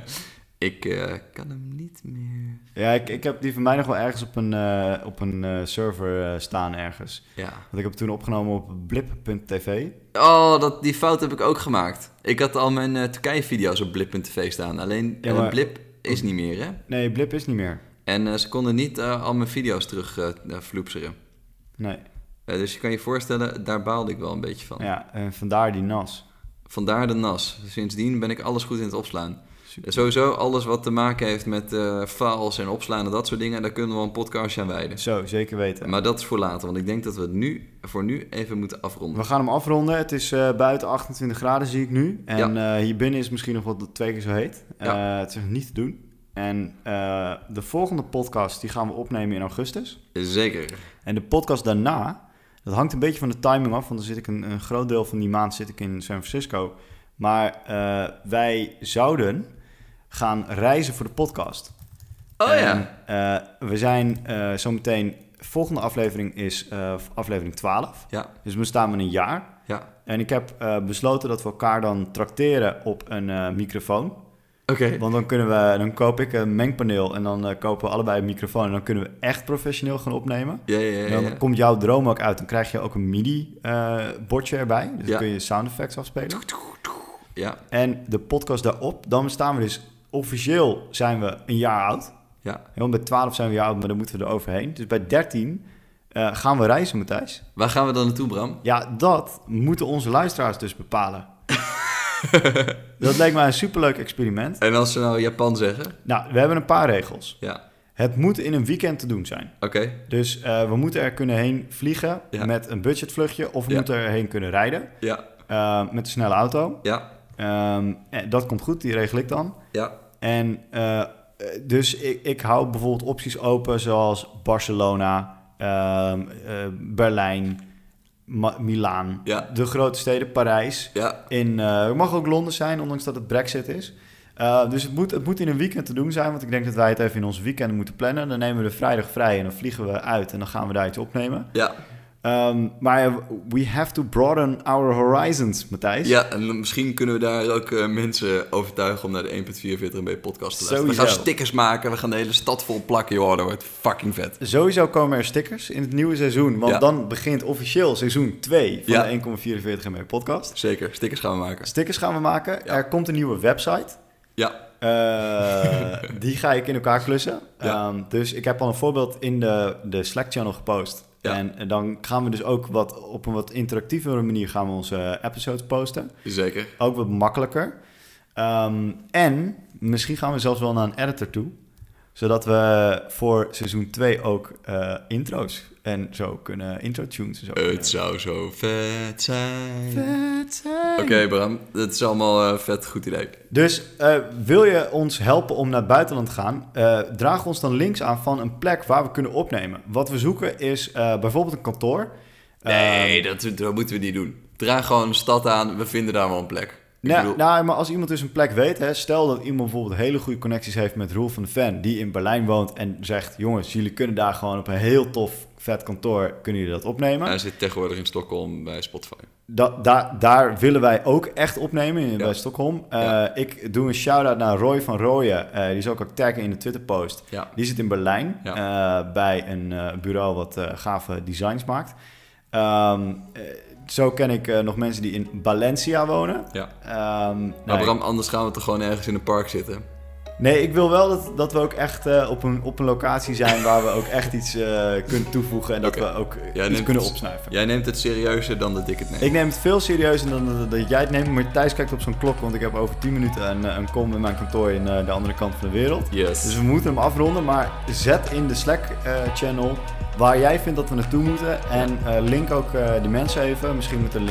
[SPEAKER 2] [laughs] ik eh, kan hem niet meer...
[SPEAKER 1] Ja, ik, ik heb die van mij nog wel ergens op een, eh, op een eh, server eh, staan ergens.
[SPEAKER 2] Ja.
[SPEAKER 1] Want ik heb toen opgenomen op blip.tv.
[SPEAKER 2] Oh, dat, die fout heb ik ook gemaakt. Ik had al mijn eh, Turkije-video's op blip.tv staan. Alleen,
[SPEAKER 1] Ja,
[SPEAKER 2] eh,
[SPEAKER 1] maar-
[SPEAKER 2] blip is niet meer, hè?
[SPEAKER 1] Nee, blip is niet meer.
[SPEAKER 2] En eh, ze konden niet eh, al mijn video's terug eh, eh, vloepseren.
[SPEAKER 1] Nee.
[SPEAKER 2] Eh, dus je kan je voorstellen, daar baalde ik wel een beetje van.
[SPEAKER 1] Ja, en vandaar die nas.
[SPEAKER 2] Vandaar de nas. Sindsdien ben ik alles goed in het opslaan.
[SPEAKER 1] Super.
[SPEAKER 2] Sowieso alles wat te maken heeft met eh faals en opslaan en dat soort dingen, daar kunnen we wel een podcastje aan wijden.
[SPEAKER 1] Zo, zeker weten.
[SPEAKER 2] Maar dat is voor later, want ik denk dat we het nu, voor nu even moeten afronden.
[SPEAKER 1] We gaan hem afronden. Het is eh, buiten 28 graden, zie ik nu. En eh, hier binnen is het misschien nog wel twee keer zo heet.
[SPEAKER 2] Ja.
[SPEAKER 1] Eh, het is niet te doen. En eh, de volgende podcast die gaan we opnemen in augustus.
[SPEAKER 2] Zeker.
[SPEAKER 1] En de podcast daarna, dat hangt een beetje van de timing af. Want dan zit ik een, een groot deel van die maand zit ik in San Francisco. Maar eh, wij zouden gaan reizen voor de podcast.
[SPEAKER 2] Oh ja.
[SPEAKER 1] En, eh, we zijn eh, zometeen... Volgende aflevering is eh, aflevering 12.
[SPEAKER 2] Ja,
[SPEAKER 1] Dus we staan met een jaar.
[SPEAKER 2] ja.
[SPEAKER 1] En ik heb eh, besloten dat we elkaar dan trakteren op een eh, microfoon.
[SPEAKER 2] Oké.
[SPEAKER 1] Want dan, kunnen we, dan koop ik een mengpaneel en dan eh, kopen we allebei een microfoon. En dan kunnen we echt professioneel gaan opnemen.
[SPEAKER 2] Ja, ja,
[SPEAKER 1] En
[SPEAKER 2] ja.
[SPEAKER 1] dan
[SPEAKER 2] ja.
[SPEAKER 1] komt jouw droom ook uit. Dan krijg je ook een MIDI-bordje erbij. Dus
[SPEAKER 2] Ja.
[SPEAKER 1] dan kun je sound effects afspelen.
[SPEAKER 2] Ja,
[SPEAKER 1] En de podcast daarop, dan staan we dus officieel zijn we een jaar oud.
[SPEAKER 2] ja.
[SPEAKER 1] Ja, Want bij 12 zijn we een jaar oud, maar dan moeten we er overheen. Dus bij 13 eh, gaan we reizen, Matthijs.
[SPEAKER 2] Waar gaan we dan naartoe, Bram?
[SPEAKER 1] Ja, dat moeten onze luisteraars dus
[SPEAKER 2] [laughs]
[SPEAKER 1] bepalen. dat lijkt mij een superleuk experiment.
[SPEAKER 2] En als ze nou Japan zeggen?
[SPEAKER 1] Nou, we hebben een paar regels.
[SPEAKER 2] Ja,
[SPEAKER 1] Het moet in een weekend te doen zijn.
[SPEAKER 2] oké.
[SPEAKER 1] Dus eh, we moeten er kunnen heen vliegen
[SPEAKER 2] Ja.
[SPEAKER 1] met een budgetvluchtje... of we
[SPEAKER 2] Ja.
[SPEAKER 1] moeten erheen kunnen rijden
[SPEAKER 2] Ja,
[SPEAKER 1] eh, met een snelle auto.
[SPEAKER 2] ja,
[SPEAKER 1] Ehm, en dat komt goed, die regel ik dan.
[SPEAKER 2] ja.
[SPEAKER 1] En eh, eh, dus ik, ik hou bijvoorbeeld opties open zoals Barcelona, ehm, eh, Berlijn, Ma- Milaan...
[SPEAKER 2] Ja.
[SPEAKER 1] de grote steden, Parijs...
[SPEAKER 2] Ja,
[SPEAKER 1] In, eh, het mag ook Londen zijn, ondanks dat het Brexit is. Eh, dus het moet, het moet in een weekend te doen zijn, want ik denk dat wij het even in ons weekend moeten plannen. Dan nemen we de vrijdag vrij en dan vliegen we uit en dan gaan we daar iets opnemen.
[SPEAKER 2] ja.
[SPEAKER 1] Ehm, maar we have to broaden our horizons, Matthijs.
[SPEAKER 2] Ja, en misschien kunnen we daar ook eh, mensen overtuigen om naar de 1.44 MB podcast te luisteren.
[SPEAKER 1] Sowieso.
[SPEAKER 2] We gaan stickers maken, we gaan de hele stad vol plakken, joh, dat wordt fucking vet.
[SPEAKER 1] Sowieso komen er stickers in het nieuwe seizoen, want
[SPEAKER 2] Ja.
[SPEAKER 1] dan begint officieel seizoen 2 van
[SPEAKER 2] Ja.
[SPEAKER 1] de 1,44 MB podcast.
[SPEAKER 2] Zeker, stickers gaan we maken.
[SPEAKER 1] Stickers gaan we maken.
[SPEAKER 2] Ja.
[SPEAKER 1] Er komt een nieuwe website.
[SPEAKER 2] Ja,
[SPEAKER 1] Eh, die ga ik in elkaar klussen.
[SPEAKER 2] Ja.
[SPEAKER 1] Ehm, dus ik heb al een voorbeeld in de, de Slack-channel gepost.
[SPEAKER 2] Ja.
[SPEAKER 1] En eh, dan gaan we dus ook wat, op een wat interactievere manier gaan we onze episodes posten.
[SPEAKER 2] zeker.
[SPEAKER 1] Ook wat makkelijker. Ehm, en misschien gaan we zelfs wel naar een editor toe. Zodat we voor seizoen 2 ook eh, intro's en zo kunnen, intro-tunes en zo. kunnen-
[SPEAKER 2] Het zou zo vet zijn.
[SPEAKER 1] Vet zijn.
[SPEAKER 2] Oké Bram, dat is allemaal eh, vet goed idee.
[SPEAKER 1] Dus eh, wil je ons helpen om naar het buitenland te gaan? eh, draag ons dan links aan van een plek waar we kunnen opnemen. Wat we zoeken is eh, bijvoorbeeld een kantoor. Ehm,
[SPEAKER 2] Nee, dat, dat moeten we niet doen. Draag gewoon een stad aan, we vinden daar wel een plek. Ik
[SPEAKER 1] Nou,
[SPEAKER 2] bedoel,
[SPEAKER 1] nou, maar als iemand dus een plek weet, hè, stel dat iemand bijvoorbeeld hele goede connecties heeft met Roel van de Ven, die in Berlijn woont en zegt: Jongens, jullie kunnen daar gewoon op een heel tof, vet kantoor, kunnen jullie dat opnemen?
[SPEAKER 2] Hij zit tegenwoordig in Stockholm bij Spotify.
[SPEAKER 1] Da- daar- daar willen wij ook echt opnemen in,
[SPEAKER 2] Ja.
[SPEAKER 1] bij Stockholm. Eh,
[SPEAKER 2] Ja.
[SPEAKER 1] Ik doe een shout-out naar Roy van Rooyen. Eh, die is ook al taggen in de Twitter-post.
[SPEAKER 2] Ja.
[SPEAKER 1] Die zit in Berlijn
[SPEAKER 2] Ja.
[SPEAKER 1] eh, bij een eh, bureau wat eh, gave designs maakt. Ehm, eh, zo ken ik eh, nog mensen die in Valencia wonen.
[SPEAKER 2] Ja.
[SPEAKER 1] Ehm,
[SPEAKER 2] Nou,
[SPEAKER 1] nee.
[SPEAKER 2] Bram, anders gaan we toch gewoon ergens in een park zitten.
[SPEAKER 1] Nee, ik wil wel dat, dat we ook echt eh, op, een, op een locatie zijn waar we ook echt iets eh, kunnen toevoegen en dat
[SPEAKER 2] Oké.
[SPEAKER 1] we ook eh,
[SPEAKER 2] Jij
[SPEAKER 1] iets
[SPEAKER 2] neemt
[SPEAKER 1] kunnen
[SPEAKER 2] het-
[SPEAKER 1] opsnuiven.
[SPEAKER 2] Jij neemt het serieuzer dan dat ik het neem.
[SPEAKER 1] Ik neem het veel serieuzer dan dat, dat jij het neemt. Maar Thijs kijkt op zijn klok, want ik heb over 10 minuten een, eh, een kom in mijn kantoor in eh, de andere kant van de wereld.
[SPEAKER 2] Yes.
[SPEAKER 1] Dus we moeten hem afronden, maar zet in de Slack-channel waar jij vindt dat we naartoe moeten. En eh, link ook eh die mensen even, misschien met een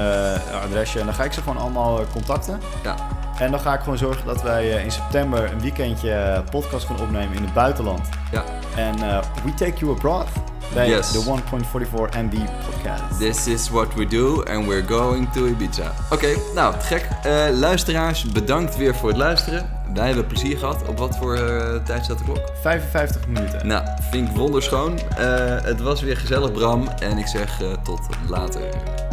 [SPEAKER 1] LinkedIn-adresje. en dan ga ik ze gewoon allemaal eh, contacten.
[SPEAKER 2] Ja,
[SPEAKER 1] En dan ga ik gewoon zorgen dat wij eh, in september een weekendje eh, podcast gaan opnemen in het buitenland.
[SPEAKER 2] ja.
[SPEAKER 1] En eh, we take you abroad bij
[SPEAKER 2] Yes.
[SPEAKER 1] de 1.44 MB podcast.
[SPEAKER 2] This is what we do and we're going to Ibiza. Oké, nou, te gek. Eh, luisteraars, bedankt weer voor het luisteren. Wij hebben plezier gehad. Op wat voor eh, tijd staat de klok?
[SPEAKER 1] 55 minuten.
[SPEAKER 2] Nou, vind ik wonderschoon. Eh, het was weer gezellig, Bram. En ik zeg eh, tot later.